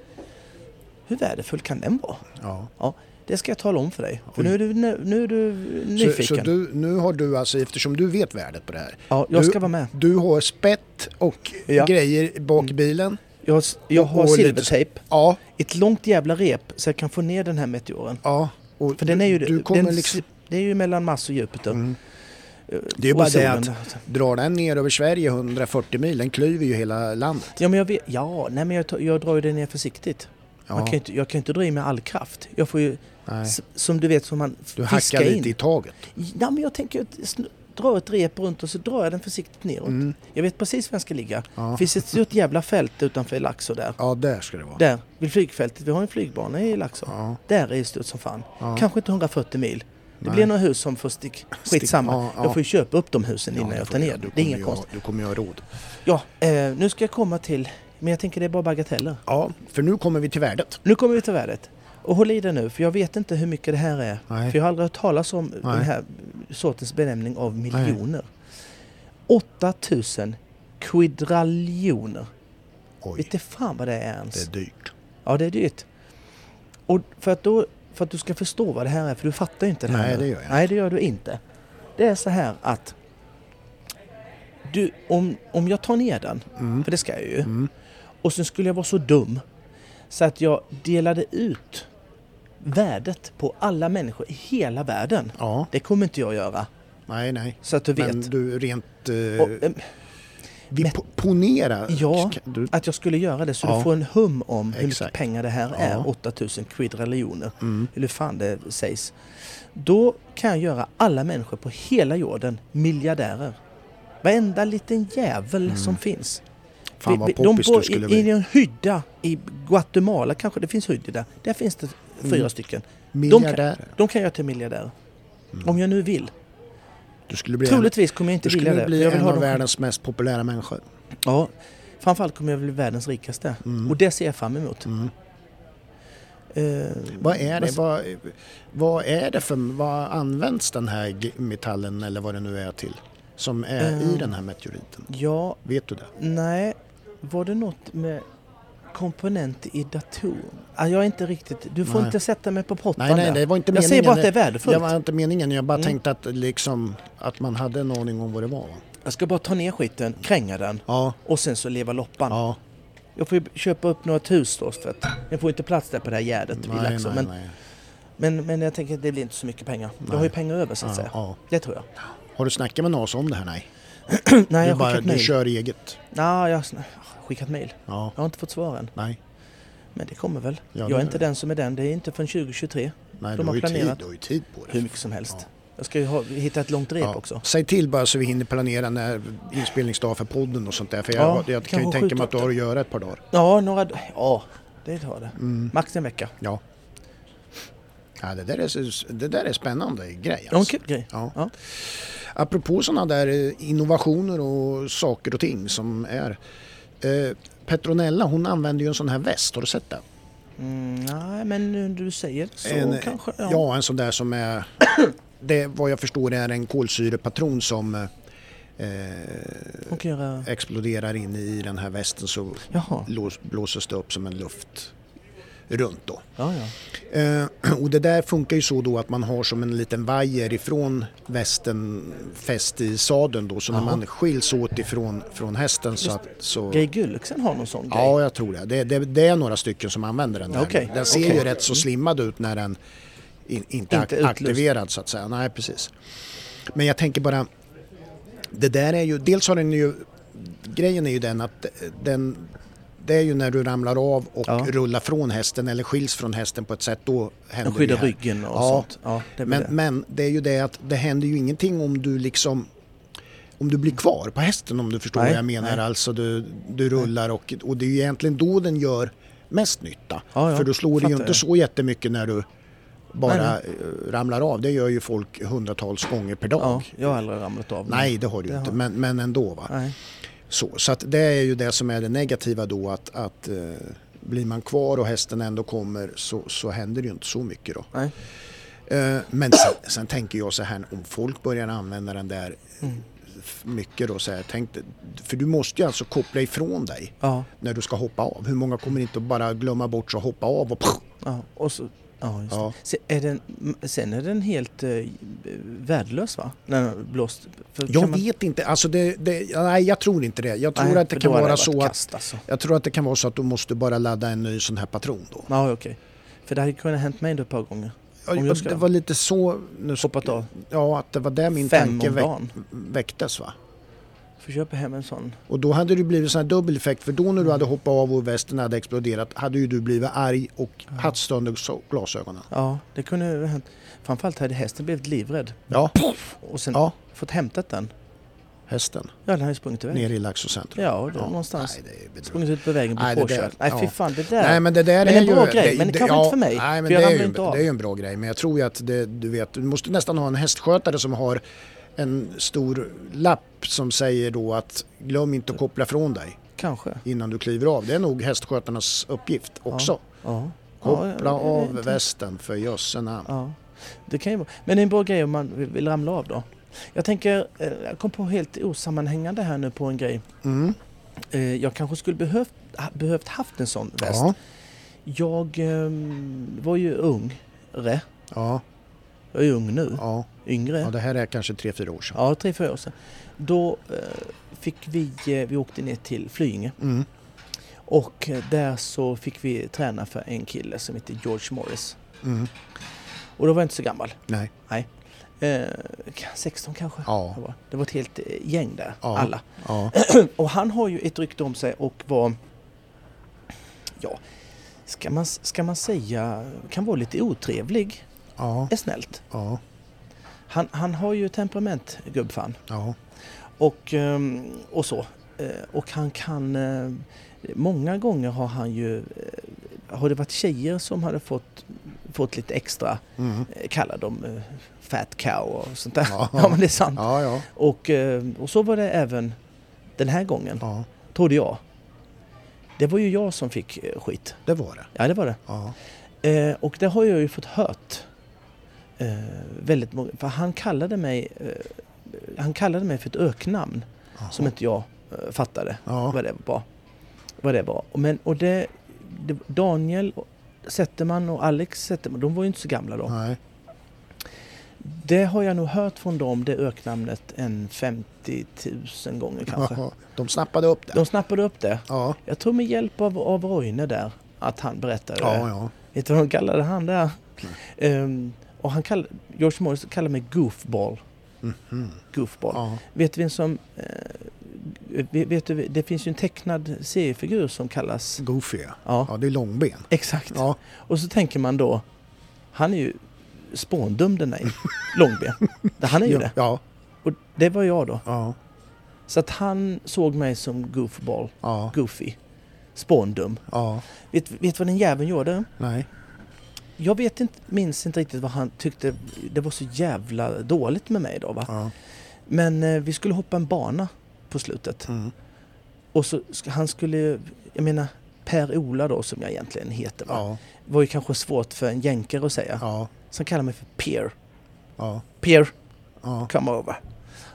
Speaker 1: Hur värdefull kan den vara?
Speaker 2: Ja.
Speaker 1: Ja, det ska jag tala om för dig. För nu är du, nu, nu är du
Speaker 2: Så,
Speaker 1: nyfiken.
Speaker 2: så du, nu har du alltså, eftersom du vet värdet på det här.
Speaker 1: Ja, jag
Speaker 2: du,
Speaker 1: ska vara med.
Speaker 2: Du har spett och
Speaker 1: Ja. Mm.
Speaker 2: grejer bak i bilen.
Speaker 1: Jag, har- jag har
Speaker 2: Och lite-
Speaker 1: silvertejp.
Speaker 2: Ja,
Speaker 1: Ett långt jävla rep så jag kan få ner den här meteoren.
Speaker 2: ja. Och
Speaker 1: För den är ju,
Speaker 2: du, du kommer
Speaker 1: den,
Speaker 2: liksom, Mm.
Speaker 1: det är ju mellan Mars och Jupiter.
Speaker 2: det är ju bara
Speaker 1: och
Speaker 2: det
Speaker 1: solen
Speaker 2: att
Speaker 1: där.
Speaker 2: drar den ner över Sverige 140 mil, den klyver ju hela landet.
Speaker 1: Ja, men jag, vet, ja, nej, men jag, tar- jag drar ju det ner försiktigt. Man kan ju inte, jag kan ju inte dra i med all kraft. Jag får ju,
Speaker 2: Nej.
Speaker 1: s- som du vet, som man
Speaker 2: Du
Speaker 1: fiskar
Speaker 2: hackar
Speaker 1: in.
Speaker 2: lite i taget.
Speaker 1: Nej, men jag tänker att sn- dra ett rep runt och så drar jag den försiktigt neråt.
Speaker 2: Mm.
Speaker 1: Jag vet precis var jag ska ligga. Det finns ett stort jävla fält utanför Laxå där.
Speaker 2: Ja, där ska det vara.
Speaker 1: Där, vid flygfältet. Vi har en flygbana i Laxå.
Speaker 2: Ja.
Speaker 1: Där är det stort som fan. Kanske inte 140 mil. Det blir några hus som får stick. Skitsamma.
Speaker 2: Ja, ja.
Speaker 1: Jag får ju köpa upp de husen
Speaker 2: Ja,
Speaker 1: innan
Speaker 2: det
Speaker 1: jag
Speaker 2: får
Speaker 1: tar
Speaker 2: du
Speaker 1: ner
Speaker 2: göra.
Speaker 1: dem. Det
Speaker 2: Du
Speaker 1: är
Speaker 2: kommer
Speaker 1: inga
Speaker 2: ju ha-
Speaker 1: konst.
Speaker 2: Du kommer ju ha råd.
Speaker 1: Ja, eh, nu ska jag komma till... Men jag tänker det är bara bagateller.
Speaker 2: Ja, för nu kommer vi till värdet.
Speaker 1: Nu kommer vi till värdet. Och håll i det nu, för jag vet inte hur mycket det här är.
Speaker 2: Nej.
Speaker 1: För jag har aldrig hört talas om den här sortens benämning av miljoner. 8000 kvadraljoner.
Speaker 2: Oj,
Speaker 1: Vet du fan vad det är ens?
Speaker 2: det är dyrt.
Speaker 1: Ja, det är dyrt. Och för att, då, för att du ska förstå vad det här är, för du fattar ju inte det här
Speaker 2: Nej,
Speaker 1: nu.
Speaker 2: det gör jag
Speaker 1: Nej, det gör du inte. Det är så här att du, om, om jag tar ner den,
Speaker 2: Mm.
Speaker 1: för det ska jag ju, och sen skulle jag vara så dum så att jag delade ut värdet på alla människor i hela världen.
Speaker 2: Ja,
Speaker 1: Det kommer inte jag göra,
Speaker 2: nej, nej.
Speaker 1: så att du vet.
Speaker 2: Men du, rent... Eh,
Speaker 1: Och, ehm,
Speaker 2: vi
Speaker 1: men-
Speaker 2: po- ponera...
Speaker 1: Ja,
Speaker 2: Ska- Du,
Speaker 1: att jag skulle göra det så
Speaker 2: Ja.
Speaker 1: du får en hum om hur mycket
Speaker 2: Exakt.
Speaker 1: pengar det här
Speaker 2: Ja. Mm.
Speaker 1: är, 8000 kvadriljoner, eller hur fan det sägs. Då kan jag göra alla människor på hela jorden miljardärer. Varenda liten jävel som finns.
Speaker 2: Mm. fan
Speaker 1: Vi-
Speaker 2: vad
Speaker 1: vi- de
Speaker 2: poppis du
Speaker 1: bor
Speaker 2: skulle
Speaker 1: i, i
Speaker 2: bli.
Speaker 1: en hydda i Guatemala, kanske det finns hyddor där. Där finns det fyra stycken. De kan,
Speaker 2: Mm. Miljardärer.
Speaker 1: de kan jag till miljardärer. Om jag nu vill.
Speaker 2: Du skulle bli en,
Speaker 1: Troligtvis kommer jag inte
Speaker 2: du
Speaker 1: vilja
Speaker 2: skulle
Speaker 1: det.
Speaker 2: bli
Speaker 1: för jag vill
Speaker 2: en
Speaker 1: ha
Speaker 2: av
Speaker 1: dem själv.
Speaker 2: världens mest populära människor.
Speaker 1: Ja, framförallt kommer jag bli världens rikaste.
Speaker 2: Mm.
Speaker 1: Och det ser jag fram emot. Eh,
Speaker 2: Vad är det,
Speaker 1: Vad-
Speaker 2: vad, vad är det för... Vad används den här g- metallen eller vad det nu är till? Som är i
Speaker 1: Eh.
Speaker 2: den här meteoriten?
Speaker 1: ja,
Speaker 2: Vet du det?
Speaker 1: nej. Var det något med komponent i dator? Ah, jag är inte riktigt... Du får
Speaker 2: Nej.
Speaker 1: inte sätta mig på pottan
Speaker 2: Nej, nej,
Speaker 1: där.
Speaker 2: det var inte
Speaker 1: Jag
Speaker 2: meningen.
Speaker 1: säger bara att det är värdefullt. Mm.
Speaker 2: Det var inte meningen. Jag bara tänkte att, liksom, att man hade en aning om vad det var. va?
Speaker 1: Jag ska bara ta ner skiten, kränga den
Speaker 2: Ja,
Speaker 1: och sen så leva loppan.
Speaker 2: ja.
Speaker 1: Jag får ju köpa upp något hus då för att den får inte plats där på det här gärdet i
Speaker 2: Nej,
Speaker 1: Laxå.
Speaker 2: nej,
Speaker 1: Men,
Speaker 2: nej.
Speaker 1: men, men jag tänker att det blir inte så mycket pengar. Jag har ju pengar över så att
Speaker 2: Ja,
Speaker 1: säga.
Speaker 2: ja.
Speaker 1: Det tror jag.
Speaker 2: Har du snackat med Nas om det här? Nej.
Speaker 1: Nej, jag
Speaker 2: Du,
Speaker 1: har
Speaker 2: bara,
Speaker 1: skickat
Speaker 2: du
Speaker 1: mejl.
Speaker 2: kör eget?
Speaker 1: Nej, jag har sn- skickat mejl.
Speaker 2: Ja.
Speaker 1: Jag har inte fått svaren.
Speaker 2: Nej.
Speaker 1: Men det kommer väl.
Speaker 2: Ja,
Speaker 1: jag
Speaker 2: det
Speaker 1: är
Speaker 2: är
Speaker 1: inte
Speaker 2: det.
Speaker 1: den som är den. Det är inte från 2023.
Speaker 2: Nej,
Speaker 1: De
Speaker 2: du
Speaker 1: har
Speaker 2: har, ju tid,
Speaker 1: planerat.
Speaker 2: du har ju tid på det.
Speaker 1: Hur mycket som helst. Jag ska ju ha, hitta ett långt rep
Speaker 2: Ja.
Speaker 1: också.
Speaker 2: Säg till bara så vi hinner planera när inspelningsdag för podden och sånt där. För jag,
Speaker 1: Ja,
Speaker 2: jag kan ju
Speaker 1: kanske
Speaker 2: tänka mig
Speaker 1: skjuta
Speaker 2: att du
Speaker 1: upp
Speaker 2: har att göra ett par dagar.
Speaker 1: Ja, några... d- Ja, det tar det.
Speaker 2: Mm.
Speaker 1: Max en vecka.
Speaker 2: Ja. ja det, där är, så- det där är spännande grej.
Speaker 1: Ja, en
Speaker 2: Alltså.
Speaker 1: kul grej.
Speaker 2: Ja.
Speaker 1: Ja.
Speaker 2: Apropå sådana där eh, innovationer och saker och ting som är. Eh, Petronella hon använder ju en sån här väst, har du sett den?
Speaker 1: Mm, nej, men du säger så
Speaker 2: en, eh,
Speaker 1: kanske.
Speaker 2: Ja.
Speaker 1: Ja.
Speaker 2: en sån där som är, det, vad jag förstår är en kolsyrepatron som eh,
Speaker 1: Hon kan göra...
Speaker 2: exploderar in i den här västen så
Speaker 1: Jaha.
Speaker 2: lås, blåses det upp som en luft runt då.
Speaker 1: Ja, ja.
Speaker 2: Eh, och det där funkar ju så då att man har som en liten vajer ifrån västen fäst i sadeln då så när
Speaker 1: Jaha.
Speaker 2: man skiljs åt ifrån från hästen så att så
Speaker 1: Gay Gulliksen har någon sån grej.
Speaker 2: Ja, jag tror det. Det, det. det är några stycken som använder den där.
Speaker 1: Okej,
Speaker 2: Den ser
Speaker 1: okej.
Speaker 2: ju rätt så slimmad ut när den in, inte
Speaker 1: Inte
Speaker 2: är
Speaker 1: utlöst.
Speaker 2: aktiverad så att säga. Nej, precis. Men jag tänker bara, det där är ju, dels har den ju, grejen är ju den att eh, den, det är ju när du ramlar av och
Speaker 1: Ja.
Speaker 2: rullar från hästen eller skiljs från hästen på ett sätt, då händer
Speaker 1: Den skyddar
Speaker 2: det här.
Speaker 1: ryggen och
Speaker 2: Ja,
Speaker 1: sånt. Ja, det
Speaker 2: men,
Speaker 1: men, det.
Speaker 2: men det är ju det att det händer ju ingenting om du liksom om du blir kvar på hästen om du förstår
Speaker 1: Nej,
Speaker 2: vad jag menar.
Speaker 1: nej.
Speaker 2: Alltså du, du rullar och, och det är ju egentligen då den gör mest nytta.
Speaker 1: Ja, ja,
Speaker 2: För då slår det ju
Speaker 1: fattar
Speaker 2: inte
Speaker 1: jag.
Speaker 2: så jättemycket när du bara
Speaker 1: Nej,
Speaker 2: eh, ramlar av. Det gör ju folk hundratals gånger per dag.
Speaker 1: ja, jag har aldrig ramlat av.
Speaker 2: Nej, det har du ju
Speaker 1: Det
Speaker 2: inte,
Speaker 1: har-
Speaker 2: men, men ändå. Va?
Speaker 1: Nej.
Speaker 2: Så, så att det är ju det som är det negativa då att, att eh, blir man kvar och hästen ändå kommer så, så händer det ju inte så mycket då.
Speaker 1: Nej.
Speaker 2: Eh, Men sen, sen tänker jag så här om folk börjar använda den där eh,
Speaker 1: Mm.
Speaker 2: f- mycket då så här, tänk, dig- för du måste ju alltså koppla ifrån dig
Speaker 1: Ja,
Speaker 2: när du ska hoppa av. Hur många kommer inte att bara glömma bort sig och hoppa av och pff,
Speaker 1: ja. Och så, ja, just
Speaker 2: Ja.
Speaker 1: Det. Sen, är den, m- sen är den helt eh, värdelös va? När den har blåst. För
Speaker 2: Jag
Speaker 1: kan man-
Speaker 2: vet inte, alltså det, det, nej jag tror inte det. Jag tror
Speaker 1: Nej,
Speaker 2: att det
Speaker 1: för
Speaker 2: kan
Speaker 1: då hade
Speaker 2: vara
Speaker 1: varit
Speaker 2: så att
Speaker 1: Kast, alltså.
Speaker 2: jag tror att det kan vara så att du måste bara ladda en ny sån här patron då.
Speaker 1: Ja, okej. För det hade kunnat hänt mig ändå ett par gånger.
Speaker 2: Ja,
Speaker 1: Om jag ska-
Speaker 2: det var lite så... Nu, ska-
Speaker 1: Hoppat av.
Speaker 2: Ja, att det var där min
Speaker 1: Fem
Speaker 2: tanke
Speaker 1: om
Speaker 2: väck,
Speaker 1: dagen.
Speaker 2: väcktes va.
Speaker 1: Får köpa hem en sån.
Speaker 2: Och då hade det blivit sån här dubbel effekt för då när du hade hoppat av och västen hade exploderat hade ju du blivit arg och haft sönder so- glasögonen.
Speaker 1: Ja, det kunde ha hänt. Framförallt hade hästen blivit livrädd.
Speaker 2: Ja,
Speaker 1: Och sen
Speaker 2: ja
Speaker 1: fått hämtat den.
Speaker 2: hästen
Speaker 1: Ja, den hade ju sprungit iväg.
Speaker 2: ner i Laxåcentrum.
Speaker 1: Ja, det, någonstans.
Speaker 2: Nej, det är bedrövligt.
Speaker 1: Sprungit ut på vägen,
Speaker 2: Nej,
Speaker 1: blivit
Speaker 2: det där-
Speaker 1: påkörd. Nej, fy
Speaker 2: ja.
Speaker 1: fan, det där.
Speaker 2: Nej men det där
Speaker 1: Men
Speaker 2: är
Speaker 1: en
Speaker 2: ju...
Speaker 1: bra grej, men det kanske inte för mig,
Speaker 2: Nej men
Speaker 1: för jag
Speaker 2: det, är ju,
Speaker 1: ramlar inte av.
Speaker 2: det är ju en bra grej. Men jag tror ju att det, du vet, du måste nästan ha en hästskötare som har en stor lapp som säger då att glöm inte att koppla från dig
Speaker 1: Kanske.
Speaker 2: innan du kliver av. Det är nog hästskötarnas uppgift också.
Speaker 1: Ja.
Speaker 2: Koppla
Speaker 1: ja, jag- jag
Speaker 2: av
Speaker 1: vet.
Speaker 2: västen för jösse namn.
Speaker 1: Ja, det kan ju vara. Men det är en bra grej om man vill vill ramla av då. Jag tänker, eh, jag kom på helt osammanhängande här nu på en grej.
Speaker 2: Mm.
Speaker 1: Eh, Jag kanske skulle behövt, ha- behövt haft en sån väst.
Speaker 2: Ja.
Speaker 1: Jag ehm, var ju ungre.
Speaker 2: Ja,
Speaker 1: Jag är ju ung nu.
Speaker 2: ja.
Speaker 1: Yngre.
Speaker 2: ja, det här är kanske tre fyra år sedan.
Speaker 1: Ja, tre, fyra år sedan. Då eh, fick vi, eh, vi åkte ner till Flyinge
Speaker 2: Mm.
Speaker 1: och eh, där så fick vi träna för en kille som heter George Morris.
Speaker 2: Mm.
Speaker 1: Och då var jag inte så gammal,
Speaker 2: Nej.
Speaker 1: eh, 16 kanske.
Speaker 2: Ja.
Speaker 1: Jag var. Det var ett helt eh, gäng där,
Speaker 2: Ja.
Speaker 1: alla.
Speaker 2: Ja.
Speaker 1: Och han har ju ett rykte om sig och var, ja, ska man, ska man säga, kan vara lite otrevlig,
Speaker 2: Ja.
Speaker 1: är snällt.
Speaker 2: Ja.
Speaker 1: Han, han har ju temperament, gubbfan.
Speaker 2: Ja.
Speaker 1: Och, ehm, och så. Eh, Och han kan... eh, Många gånger har han ju... eh, Har det varit tjejer som hade fått, fått lite extra,
Speaker 2: Mm.
Speaker 1: eh, kallar dem eh, fat cow och sånt där.
Speaker 2: Ja.
Speaker 1: Ja, men det är sant.
Speaker 2: Ja, ja.
Speaker 1: Och, eh, och så var det även den här gången,
Speaker 2: Ja,
Speaker 1: trodde jag. Det var ju jag som fick eh, skit.
Speaker 2: det var det.
Speaker 1: Ja, det var det.
Speaker 2: Ja.
Speaker 1: Eh, och det har jag ju fått hört. Eh, väldigt många, för han kallade mig eh, han kallade mig för ett öknamn
Speaker 2: Jaha.
Speaker 1: som inte jag eh, fattade
Speaker 2: Ja.
Speaker 1: vad det var. Vad det var. Och Men, och det, det, Daniel Zetterman och Alex Zetterman, de var ju inte så gamla då.
Speaker 2: Nej.
Speaker 1: Det har jag nog hört från dem, det öknamnet, en 50 000 gånger kanske.
Speaker 2: Ja. De snappade upp det.
Speaker 1: De snappade upp det.
Speaker 2: Ja.
Speaker 1: Jag tror med hjälp av, av Roine där, att han berättade det.
Speaker 2: Ja, ja.
Speaker 1: Vet du vad de kallade han där? Ehm, och han kall, George Morris kallade mig goofball. goofball.
Speaker 2: Mm. Ja.
Speaker 1: Vet du vem som... Eh, vet, vet du, det finns ju en tecknad seriefigur som kallas...
Speaker 2: Goofy ja.
Speaker 1: Ja,
Speaker 2: Ja, det är långben.
Speaker 1: exakt.
Speaker 2: Ja,
Speaker 1: Och så tänker man då, han är ju spåndum den där Långben. Han är ju
Speaker 2: ja,
Speaker 1: det.
Speaker 2: ja,
Speaker 1: Och det var jag då.
Speaker 2: ja,
Speaker 1: Så att han såg mig som goofball,
Speaker 2: ja,
Speaker 1: goofy, spåndum.
Speaker 2: ja,
Speaker 1: Vet, vet vad den jäveln gjorde?
Speaker 2: nej,
Speaker 1: Jag vet inte, minns inte riktigt vad han tyckte. Det var så jävla dåligt med mig då va.
Speaker 2: ja,
Speaker 1: Men eh, vi skulle hoppa en bana på slutet.
Speaker 2: mm,
Speaker 1: Och så, sk- han skulle, jag menar Per-Ola då som jag egentligen heter va.
Speaker 2: ja,
Speaker 1: Var ju kanske svårt för en jänkare att säga.
Speaker 2: ja,
Speaker 1: Så han kallar mig för Per.
Speaker 2: ja,
Speaker 1: Per,
Speaker 2: ja,
Speaker 1: come over.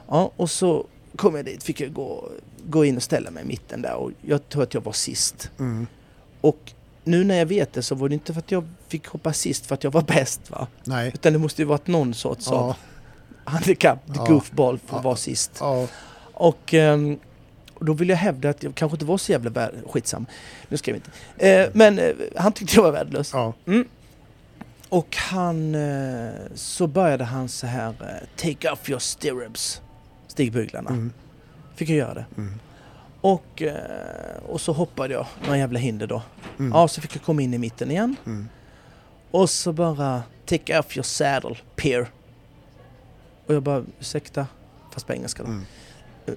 Speaker 1: Ja, och så kom jag dit, fick jag gå, gå in och ställa mig i mitten där och jag tror att jag var sist.
Speaker 2: mm,
Speaker 1: Och nu när jag vet det så var det inte för att jag fick hoppa sist för att jag var bäst va?
Speaker 2: nej,
Speaker 1: Utan det måste ju varit någon sorts
Speaker 2: ja,
Speaker 1: ja. handikapp,
Speaker 2: Ja.
Speaker 1: goofball för
Speaker 2: Ja.
Speaker 1: att vara sist.
Speaker 2: ja,
Speaker 1: Och ehm, och då vill jag hävda att jag kanske inte var så jävla värd... Skitsam. Nu ska vi inte. Eh, men eh, han tyckte jag var värdelös.
Speaker 2: ja,
Speaker 1: Och han... Eh, så började han så här... Eh, Take off your stirrups. Stigbyglarna.
Speaker 2: mm,
Speaker 1: Fick jag göra det.
Speaker 2: Mm.
Speaker 1: Och, eh, och så hoppade jag några jävla hinder då.
Speaker 2: mm,
Speaker 1: Ja, så fick jag komma in i mitten igen.
Speaker 2: mm,
Speaker 1: Och så bara... Take off your saddle, peer. Och jag bara, ursäkta? Fast på engelska då.
Speaker 2: mm,
Speaker 1: Eh,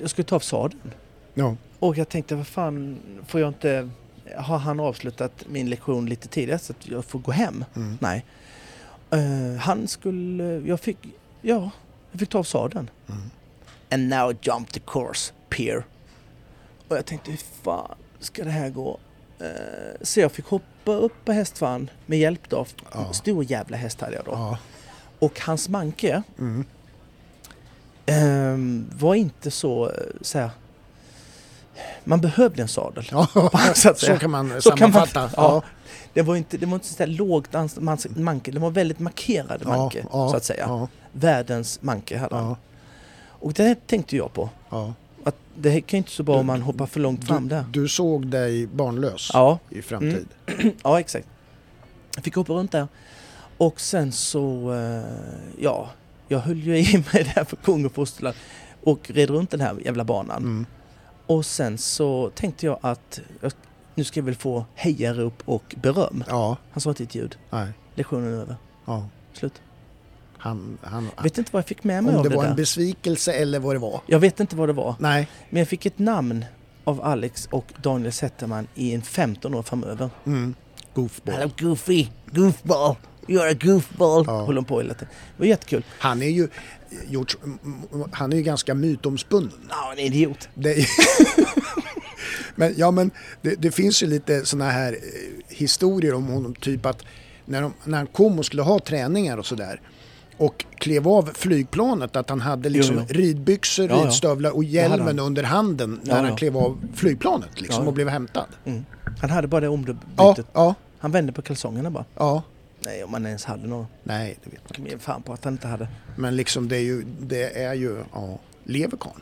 Speaker 1: Jag skulle ta av sadeln.
Speaker 2: ja,
Speaker 1: Och jag tänkte, vad fan, får jag inte... Har han avslutat min lektion lite tidigare så att jag får gå hem?
Speaker 2: mm,
Speaker 1: Nej. Eh, han skulle... Jag fick... Ja, jag fick ta av sadeln.
Speaker 2: Mm.
Speaker 1: And now jump the course, peer. Och jag tänkte, hur fan ska det här gå? Eh, så jag fick hoppa upp på hästfan med hjälp då.
Speaker 2: Ja.
Speaker 1: Stor jävla häst hade jag då.
Speaker 2: ja,
Speaker 1: Och hans manke
Speaker 2: mm,
Speaker 1: eh, var inte så... eh, så här, man behövde en sadel.
Speaker 2: ja,
Speaker 1: Så att
Speaker 2: så
Speaker 1: säga.
Speaker 2: kan man
Speaker 1: Så kan man-
Speaker 2: sammanfatta.
Speaker 1: ja.
Speaker 2: Ja,
Speaker 1: Det var inte, det var inte så där lågt anst- mans- manke, det var väldigt markerad manke
Speaker 2: ja,
Speaker 1: så att säga.
Speaker 2: ja,
Speaker 1: Världens manke hade han.
Speaker 2: ja,
Speaker 1: Och det tänkte jag på.
Speaker 2: ja.
Speaker 1: Att det här kan ju inte så bra
Speaker 2: Du-
Speaker 1: om man hoppar för långt fram
Speaker 2: Du,
Speaker 1: där.
Speaker 2: du såg dig barnlös
Speaker 1: Ja, Mm.
Speaker 2: i framtid.
Speaker 1: ja exakt. Jag fick hoppa runt där. Och sen så, eh, ja, jag höll ju i mig där för kung och fosterland och red runt den här jävla banan.
Speaker 2: Mm,
Speaker 1: Och sen så tänkte jag att jag, nu ska jag väl få hejarop och beröm.
Speaker 2: ja,
Speaker 1: Han sa inte ett ljud.
Speaker 2: nej,
Speaker 1: Lektionen är över.
Speaker 2: ja.
Speaker 1: Slut.
Speaker 2: Han, han,
Speaker 1: Jag vet inte vad jag fick med mig
Speaker 2: om
Speaker 1: av
Speaker 2: det
Speaker 1: Ah. det,
Speaker 2: var
Speaker 1: där.
Speaker 2: en besvikelse eller vad det var.
Speaker 1: Jag vet inte vad det var,
Speaker 2: Nej,
Speaker 1: men jag fick ett namn av Alex och Daniel Zetterman i en 15 år framöver.
Speaker 2: mm, goofball.
Speaker 1: Goofy, goofball, you're a goofball.
Speaker 2: Ja.
Speaker 1: Håller de på hela tiden. Det var jättekul.
Speaker 2: Han är ju, George, han är ju ganska mytomspunnen.
Speaker 1: Ja, en idiot.
Speaker 2: Det, men ja, men det, det finns ju lite sådana här eh, historier om honom, typ att när, de, när han kom och skulle ha träningar och sådär och klev av flygplanet att han hade liksom
Speaker 1: Jo, jo.
Speaker 2: ridbyxor,
Speaker 1: Ja, ja.
Speaker 2: ridstövlar och
Speaker 1: hade
Speaker 2: hjälmen
Speaker 1: han.
Speaker 2: under handen när
Speaker 1: Ja,
Speaker 2: han
Speaker 1: ja.
Speaker 2: klev av flygplanet liksom
Speaker 1: Ja, ja.
Speaker 2: och blev hämtad.
Speaker 1: Mm. Han hade bara det ombytet.
Speaker 2: Ja, ja,
Speaker 1: Han vände på kalsongerna bara.
Speaker 2: ja.
Speaker 1: Nej, om han ens hade några.
Speaker 2: Nej, det vet man.
Speaker 1: Jag ger fan på att han inte hade.
Speaker 2: Men liksom det är ju, det är ju, ja, lever karln?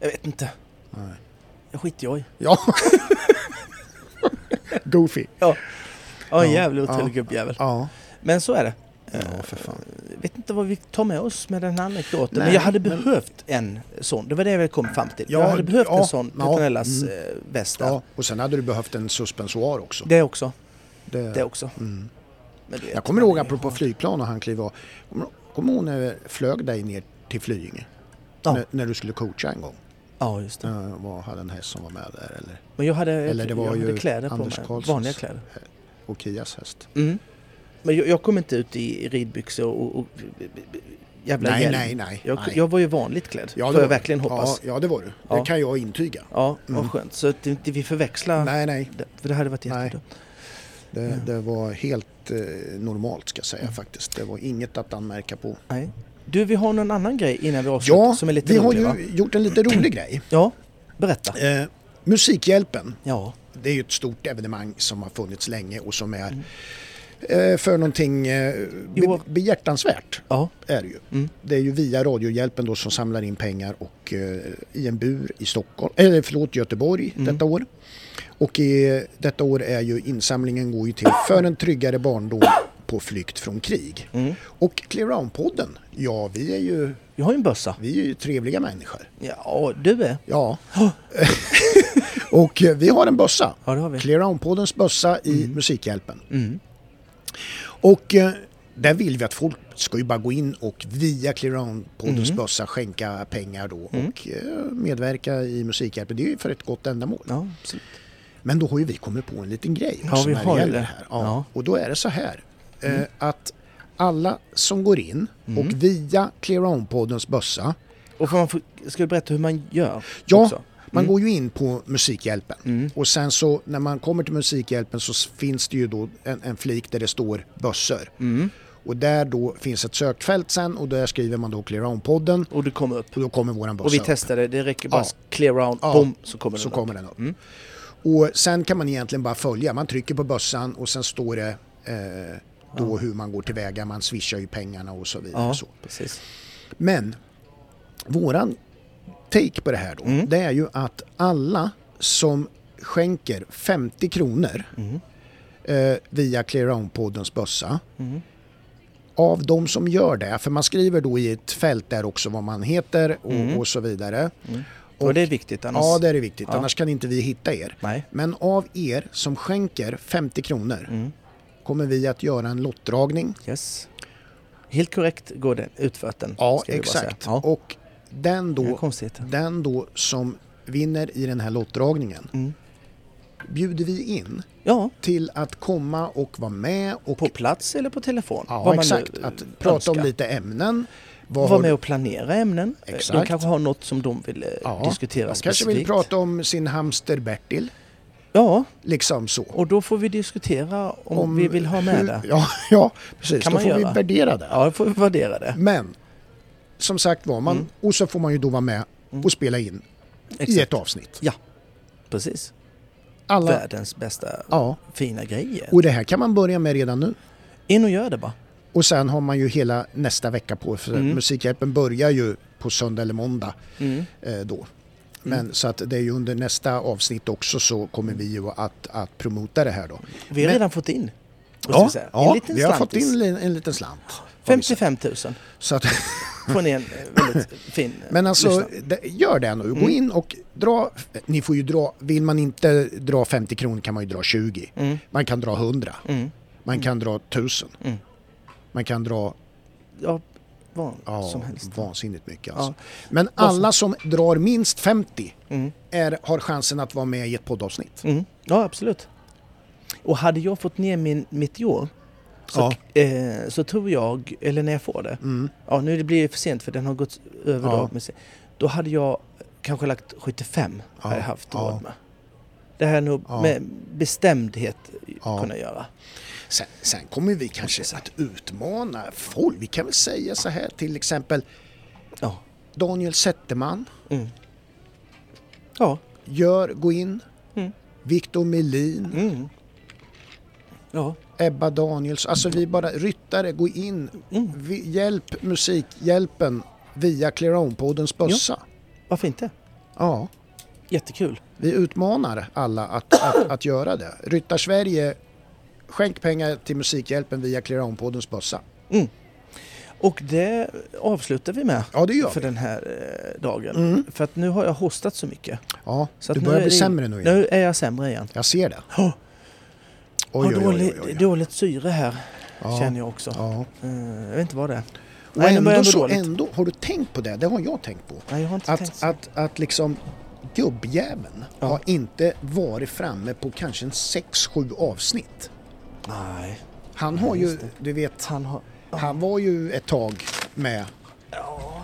Speaker 1: Jag vet inte.
Speaker 2: Nej.
Speaker 1: Jag skiter jag i.
Speaker 2: Ja. Goofy.
Speaker 1: Ja. Ja, en
Speaker 2: Ja,
Speaker 1: jävla otrevlig
Speaker 2: ja.
Speaker 1: gubbjävel.
Speaker 2: Ja.
Speaker 1: Men så är det.
Speaker 2: Ja, för fan.
Speaker 1: Jag vet inte vad vi tar med oss med den här anekdoten.
Speaker 2: Nej,
Speaker 1: men jag hade
Speaker 2: men-
Speaker 1: behövt en sån. Det var det jag kom fram till.
Speaker 2: Ja,
Speaker 1: jag hade behövt
Speaker 2: ja,
Speaker 1: en sån
Speaker 2: ja,
Speaker 1: Petronellas
Speaker 2: mm.
Speaker 1: eh, väst där.
Speaker 2: Ja, och sen hade du behövt en suspensoar också.
Speaker 1: Det också.
Speaker 2: Det-
Speaker 1: Det också.
Speaker 2: Mm.
Speaker 1: Men du vet,
Speaker 2: Jag kommer
Speaker 1: man
Speaker 2: ihåg
Speaker 1: är-
Speaker 2: apropå flygplan och han klev av. Kommer kommer du ihåg när vi flög dig ner till Flyinge?
Speaker 1: Ja.
Speaker 2: När, när du skulle coacha en gång.
Speaker 1: Ja, just det.
Speaker 2: Eh, Vad hade en häst som var med där eller?
Speaker 1: Men jag hade,
Speaker 2: Eller det var
Speaker 1: jag
Speaker 2: ju
Speaker 1: hade kläder på
Speaker 2: Anders
Speaker 1: mig.
Speaker 2: Karlssons.
Speaker 1: Vanliga kläder.
Speaker 2: Och Kias häst.
Speaker 1: Mm. Men jag, jag kom inte ut i ridbyxor och, och jävla
Speaker 2: Nej,
Speaker 1: hjälm.
Speaker 2: nej, nej.
Speaker 1: Jag,
Speaker 2: nej.
Speaker 1: jag var ju vanligt klädd.
Speaker 2: Ja, det
Speaker 1: får
Speaker 2: var-
Speaker 1: jag verkligen hoppas. Ja,
Speaker 2: Ja, ja det var du. Det
Speaker 1: Ja.
Speaker 2: kan jag intyga.
Speaker 1: vad skönt. Så att inte vi förväxlar.
Speaker 2: Nej, nej.
Speaker 1: Det, Mm. för det hade varit
Speaker 2: Nej.
Speaker 1: jättedumt.
Speaker 2: Det, det var helt eh, normalt ska jag säga faktiskt. Det var inget att anmärka på.
Speaker 1: Nej. Du, vi har någon annan grej innan vi avslutar
Speaker 2: Ja,
Speaker 1: som är lite
Speaker 2: vi
Speaker 1: rolig,
Speaker 2: har
Speaker 1: va?
Speaker 2: ju gjort en lite rolig grej.
Speaker 1: Ja, berätta.
Speaker 2: Eh, musikhjälpen.
Speaker 1: Ja.
Speaker 2: Det är ju ett stort evenemang som har funnits länge och som är eh, för någonting eh, be-
Speaker 1: Jo.
Speaker 2: behjärtansvärt.
Speaker 1: Ja.
Speaker 2: Är det, ju.
Speaker 1: Mm.
Speaker 2: det är ju via Radiohjälpen då som samlar in pengar och, eh, i en bur i Stockholm, eller förlåt, Göteborg detta år. eh, Och i, detta år är ju insamlingen går ju till För en tryggare barndom på flykt från krig. Och Clear Round-podden, ja vi är, ju,
Speaker 1: Jag har ju en bössa.
Speaker 2: vi är ju trevliga människor.
Speaker 1: Ja, du är.
Speaker 2: Ja. och eh, vi har en bössa.
Speaker 1: Ja, det har vi. Mm.
Speaker 2: Clear Round-poddens bössa i Musikhjälpen. Och eh, där vill vi att folk ska ju bara gå in och via Clear Round-poddens
Speaker 1: Mm.
Speaker 2: bössa skänka pengar då och eh, medverka i Musikhjälpen. Det är ju för ett gott ändamål.
Speaker 1: Ja, absolut.
Speaker 2: Men då har ju vi kommit på en liten grej.
Speaker 1: Ja,
Speaker 2: som
Speaker 1: vi
Speaker 2: när
Speaker 1: har ju
Speaker 2: gäller
Speaker 1: det.
Speaker 2: här. Ja.
Speaker 1: Ja. Mm.
Speaker 2: Och då är det så här eh, att alla som går in och via Clear On-poddens bössa,
Speaker 1: Och får man, få- ska du berätta hur man gör?
Speaker 2: ja,
Speaker 1: också? Mm.
Speaker 2: man går ju in på Musikhjälpen och sen så när man kommer till Musikhjälpen så s- finns det ju då en, en flik där det står bössor.
Speaker 1: Mm.
Speaker 2: Och där då finns ett sökfält sen och där skriver man då Clear On-podden
Speaker 1: Och du kommer upp.
Speaker 2: och då kommer våran bössa
Speaker 1: Och vi
Speaker 2: upp.
Speaker 1: testade, det räcker bara
Speaker 2: Ja.
Speaker 1: clear round,
Speaker 2: Ja.
Speaker 1: boom, så kommer
Speaker 2: så
Speaker 1: den upp. Mm.
Speaker 2: kommer den upp. Och sen kan man egentligen bara följa. Man trycker på bössan och sen står det eh, då hur man går tillväga. Man swishar ju pengarna och så vidare.
Speaker 1: Ja,
Speaker 2: och Så.
Speaker 1: precis.
Speaker 2: Men våran take på det här då,
Speaker 1: Mm.
Speaker 2: det är ju att alla som skänker 50 kronor
Speaker 1: Mm.
Speaker 2: eh, via ClearOwn-poddens bössa
Speaker 1: Mm.
Speaker 2: av de som gör det, för man skriver då i ett fält där också vad man heter och, och så vidare.
Speaker 1: Och, det är viktigt Mm. annars.
Speaker 2: Ja, det är det viktigt.
Speaker 1: Ja.
Speaker 2: Annars kan inte vi hitta er.
Speaker 1: Nej.
Speaker 2: Men av er som skänker 50 kronor
Speaker 1: Mm.
Speaker 2: kommer vi att göra en lottdragning.
Speaker 1: Yes. Helt korrekt går den, utfört den.
Speaker 2: Ja,
Speaker 1: ska vi bara säga.
Speaker 2: exakt.
Speaker 1: Ja.
Speaker 2: Och den
Speaker 1: Inga
Speaker 2: då,
Speaker 1: konstigheter.
Speaker 2: den då som vinner i den här lottdragningen
Speaker 1: Mm.
Speaker 2: bjuder vi in
Speaker 1: Ja,
Speaker 2: till att komma och vara med och
Speaker 1: på plats eller på telefon. vad
Speaker 2: ja,
Speaker 1: man
Speaker 2: exakt,
Speaker 1: nu, eh,
Speaker 2: att prata om
Speaker 1: önskar.
Speaker 2: lite ämnen. Vad
Speaker 1: Vara
Speaker 2: har-
Speaker 1: med och planera ämnen.
Speaker 2: Exakt.
Speaker 1: De kanske har något som de vill eh,
Speaker 2: ja,
Speaker 1: diskutera
Speaker 2: de kanske
Speaker 1: specifikt.
Speaker 2: vill prata om sin hamster Bertil,
Speaker 1: Ja,
Speaker 2: liksom så.
Speaker 1: och då får vi diskutera om,
Speaker 2: Om
Speaker 1: vi vill ha med
Speaker 2: hur-
Speaker 1: det.
Speaker 2: Ja, ja precis.
Speaker 1: Kan
Speaker 2: Då
Speaker 1: man
Speaker 2: får vi
Speaker 1: göra?
Speaker 2: värdera det.
Speaker 1: Ja, då får vi värdera det.
Speaker 2: Men som sagt var, man,
Speaker 1: Mm.
Speaker 2: och så får man ju då vara med och spela in i ett avsnitt.
Speaker 1: Ja, precis.
Speaker 2: Alla,
Speaker 1: Världens bästa
Speaker 2: ja.
Speaker 1: fina grejer.
Speaker 2: Och det här kan man börja med redan nu.
Speaker 1: In och gör det bara.
Speaker 2: Och sen har man ju hela nästa vecka på för
Speaker 1: Mm.
Speaker 2: Musikhjälpen börjar ju på söndag eller måndag eh,
Speaker 1: Mm.
Speaker 2: då. Men så att det är ju under nästa avsnitt också så kommer vi ju att, att promota det här då.
Speaker 1: Vi har
Speaker 2: Men-
Speaker 1: redan fått in. måste
Speaker 2: Ja,
Speaker 1: vi säga.
Speaker 2: ja
Speaker 1: en liten
Speaker 2: vi har fått
Speaker 1: slantis.
Speaker 2: in li- en liten slant. har vi sagt.
Speaker 1: 55 000
Speaker 2: Så att,
Speaker 1: från en eh, väldigt fin eh,
Speaker 2: Men alltså,
Speaker 1: lyssnare.
Speaker 2: det, gör det nu.
Speaker 1: Mm.
Speaker 2: Gå in och dra. Ni får ju dra, vill man inte dra 50 kronor kan man ju dra 20.
Speaker 1: Mm.
Speaker 2: Man kan dra 100. Man kan dra 1000. Man kan dra
Speaker 1: Ja, vad
Speaker 2: ja,
Speaker 1: som helst.
Speaker 2: vansinnigt mycket. Alltså. Men alla som drar minst 50 är, har chansen att vara med i ett poddavsnitt.
Speaker 1: Mm. Ja, absolut. Och hade jag fått ner min, mitt jord så, eh, så tror jag, eller när jag får det, ja nu blir det för sent för den har gått över
Speaker 2: Mm. Ja.
Speaker 1: då, men se- då hade jag kanske lagt 75, hade jag haft
Speaker 2: Ja.
Speaker 1: råd med. Det här nog
Speaker 2: Ja.
Speaker 1: med bestämdhet
Speaker 2: Ja.
Speaker 1: kunna göra.
Speaker 2: Sen, sen kommer vi kanske att utmana folk. Vi kan väl säga så här till exempel
Speaker 1: Ja,
Speaker 2: Daniel Zetterman.
Speaker 1: ja,
Speaker 2: Gör, gå in.
Speaker 1: Mm.
Speaker 2: Viktor Melin.
Speaker 1: ja.
Speaker 2: Ebba Daniels, alltså vi bara ryttare, gå in,
Speaker 1: Mm.
Speaker 2: vi, hjälp musikhjälpen via Clear On-poddens bössa. Ja.
Speaker 1: varför inte? Jättekul.
Speaker 2: vi utmanar alla att, att, att göra det. Ryttarsverige, skänk pengar till musikhjälpen via Clear On-poddens bössa.
Speaker 1: Och det avslutar vi med
Speaker 2: Ja, det gör
Speaker 1: för
Speaker 2: vi.
Speaker 1: den här eh, dagen. För att nu har jag hostat så mycket.
Speaker 2: Ja,
Speaker 1: Så att
Speaker 2: du börjar
Speaker 1: är
Speaker 2: bli
Speaker 1: det-
Speaker 2: sämre nu igen.
Speaker 1: Nu är jag sämre igen.
Speaker 2: Jag ser det.
Speaker 1: Oh.
Speaker 2: Oj, oj,
Speaker 1: har
Speaker 2: oj,
Speaker 1: dålig,
Speaker 2: oj, oj.
Speaker 1: dåligt syre här,
Speaker 2: Ja.
Speaker 1: känner jag också.
Speaker 2: Ja.
Speaker 1: Eh, jag vet inte vad det är.
Speaker 2: Och
Speaker 1: Nej, nu börjar
Speaker 2: ändå,
Speaker 1: jag må
Speaker 2: så,
Speaker 1: dåligt.
Speaker 2: ändå, har du tänkt på det? Det har jag tänkt på.
Speaker 1: Nej, jag har inte tänkt
Speaker 2: Att,
Speaker 1: så.
Speaker 2: att, att liksom gubbjäveln har inte varit framme på kanske en 6-7 avsnitt.
Speaker 1: Nej,
Speaker 2: Han har ju, du vet,
Speaker 1: han har...
Speaker 2: han var ju ett tag med.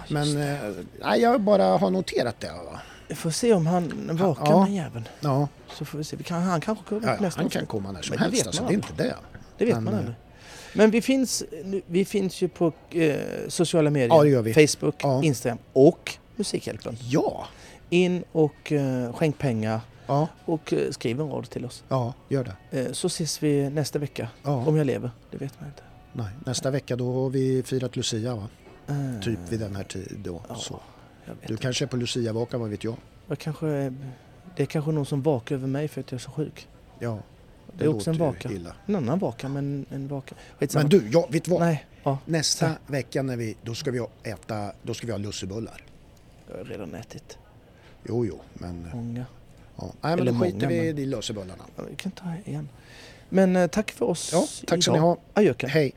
Speaker 2: Men eh, nej, jag bara har noterat det. Va?
Speaker 1: Vi får se om han vaknar
Speaker 2: Ja.
Speaker 1: den jäveln.
Speaker 2: Ja,
Speaker 1: Så får vi se. Vi kan, han kanske kommer
Speaker 2: ja,
Speaker 1: upp nästa
Speaker 2: han
Speaker 1: avsnitt.
Speaker 2: kan komma när som
Speaker 1: Men det
Speaker 2: helst.
Speaker 1: vet
Speaker 2: Alltså,
Speaker 1: man
Speaker 2: det är inte det.
Speaker 1: Det vet
Speaker 2: Men,
Speaker 1: man
Speaker 2: eh,
Speaker 1: aldrig. Men vi finns, nu- vi finns ju på eh, sociala medier.
Speaker 2: Ja, det gör vi.
Speaker 1: Facebook,
Speaker 2: Ja.
Speaker 1: Instagram och Musikhjälpen.
Speaker 2: Ja,
Speaker 1: In och eh, skänk pengar
Speaker 2: ja,
Speaker 1: och eh, skriv en rad till oss.
Speaker 2: ja, gör det.
Speaker 1: Eh, så ses vi nästa vecka.
Speaker 2: Ja.
Speaker 1: Om jag lever, det vet man inte.
Speaker 2: Nej, nästa vecka då har vi firat Lucia va?
Speaker 1: Eh,
Speaker 2: Typ vid den här tiden då. Så.
Speaker 1: jag vet
Speaker 2: Du kanske är på Luciavakan, vad vet jag?
Speaker 1: Jag kanske, det är kanske någon som vakar över mig för att jag är så sjuk.
Speaker 2: Ja,
Speaker 1: Det är också en
Speaker 2: låter ju
Speaker 1: vaka.
Speaker 2: illa.
Speaker 1: En annan vaka, men en vaka. Skitsamma.
Speaker 2: Men du, ja, vet du vad?
Speaker 1: Nej, ja.
Speaker 2: Nästa vecka när vi, då ska vi ha äta, då ska vi ha lussebullar.
Speaker 1: Jag har redan ätit
Speaker 2: Jo, jo, men...
Speaker 1: många.
Speaker 2: Ja. Nej, men
Speaker 1: Eller
Speaker 2: då skiter
Speaker 1: många,
Speaker 2: vi
Speaker 1: men-
Speaker 2: i lussebullarna.
Speaker 1: Ja, Vi kan ta igen. Men eh, tack för oss
Speaker 2: Ja, tack ska ni
Speaker 1: idag.
Speaker 2: ha.
Speaker 1: Adjöken.
Speaker 2: Hej!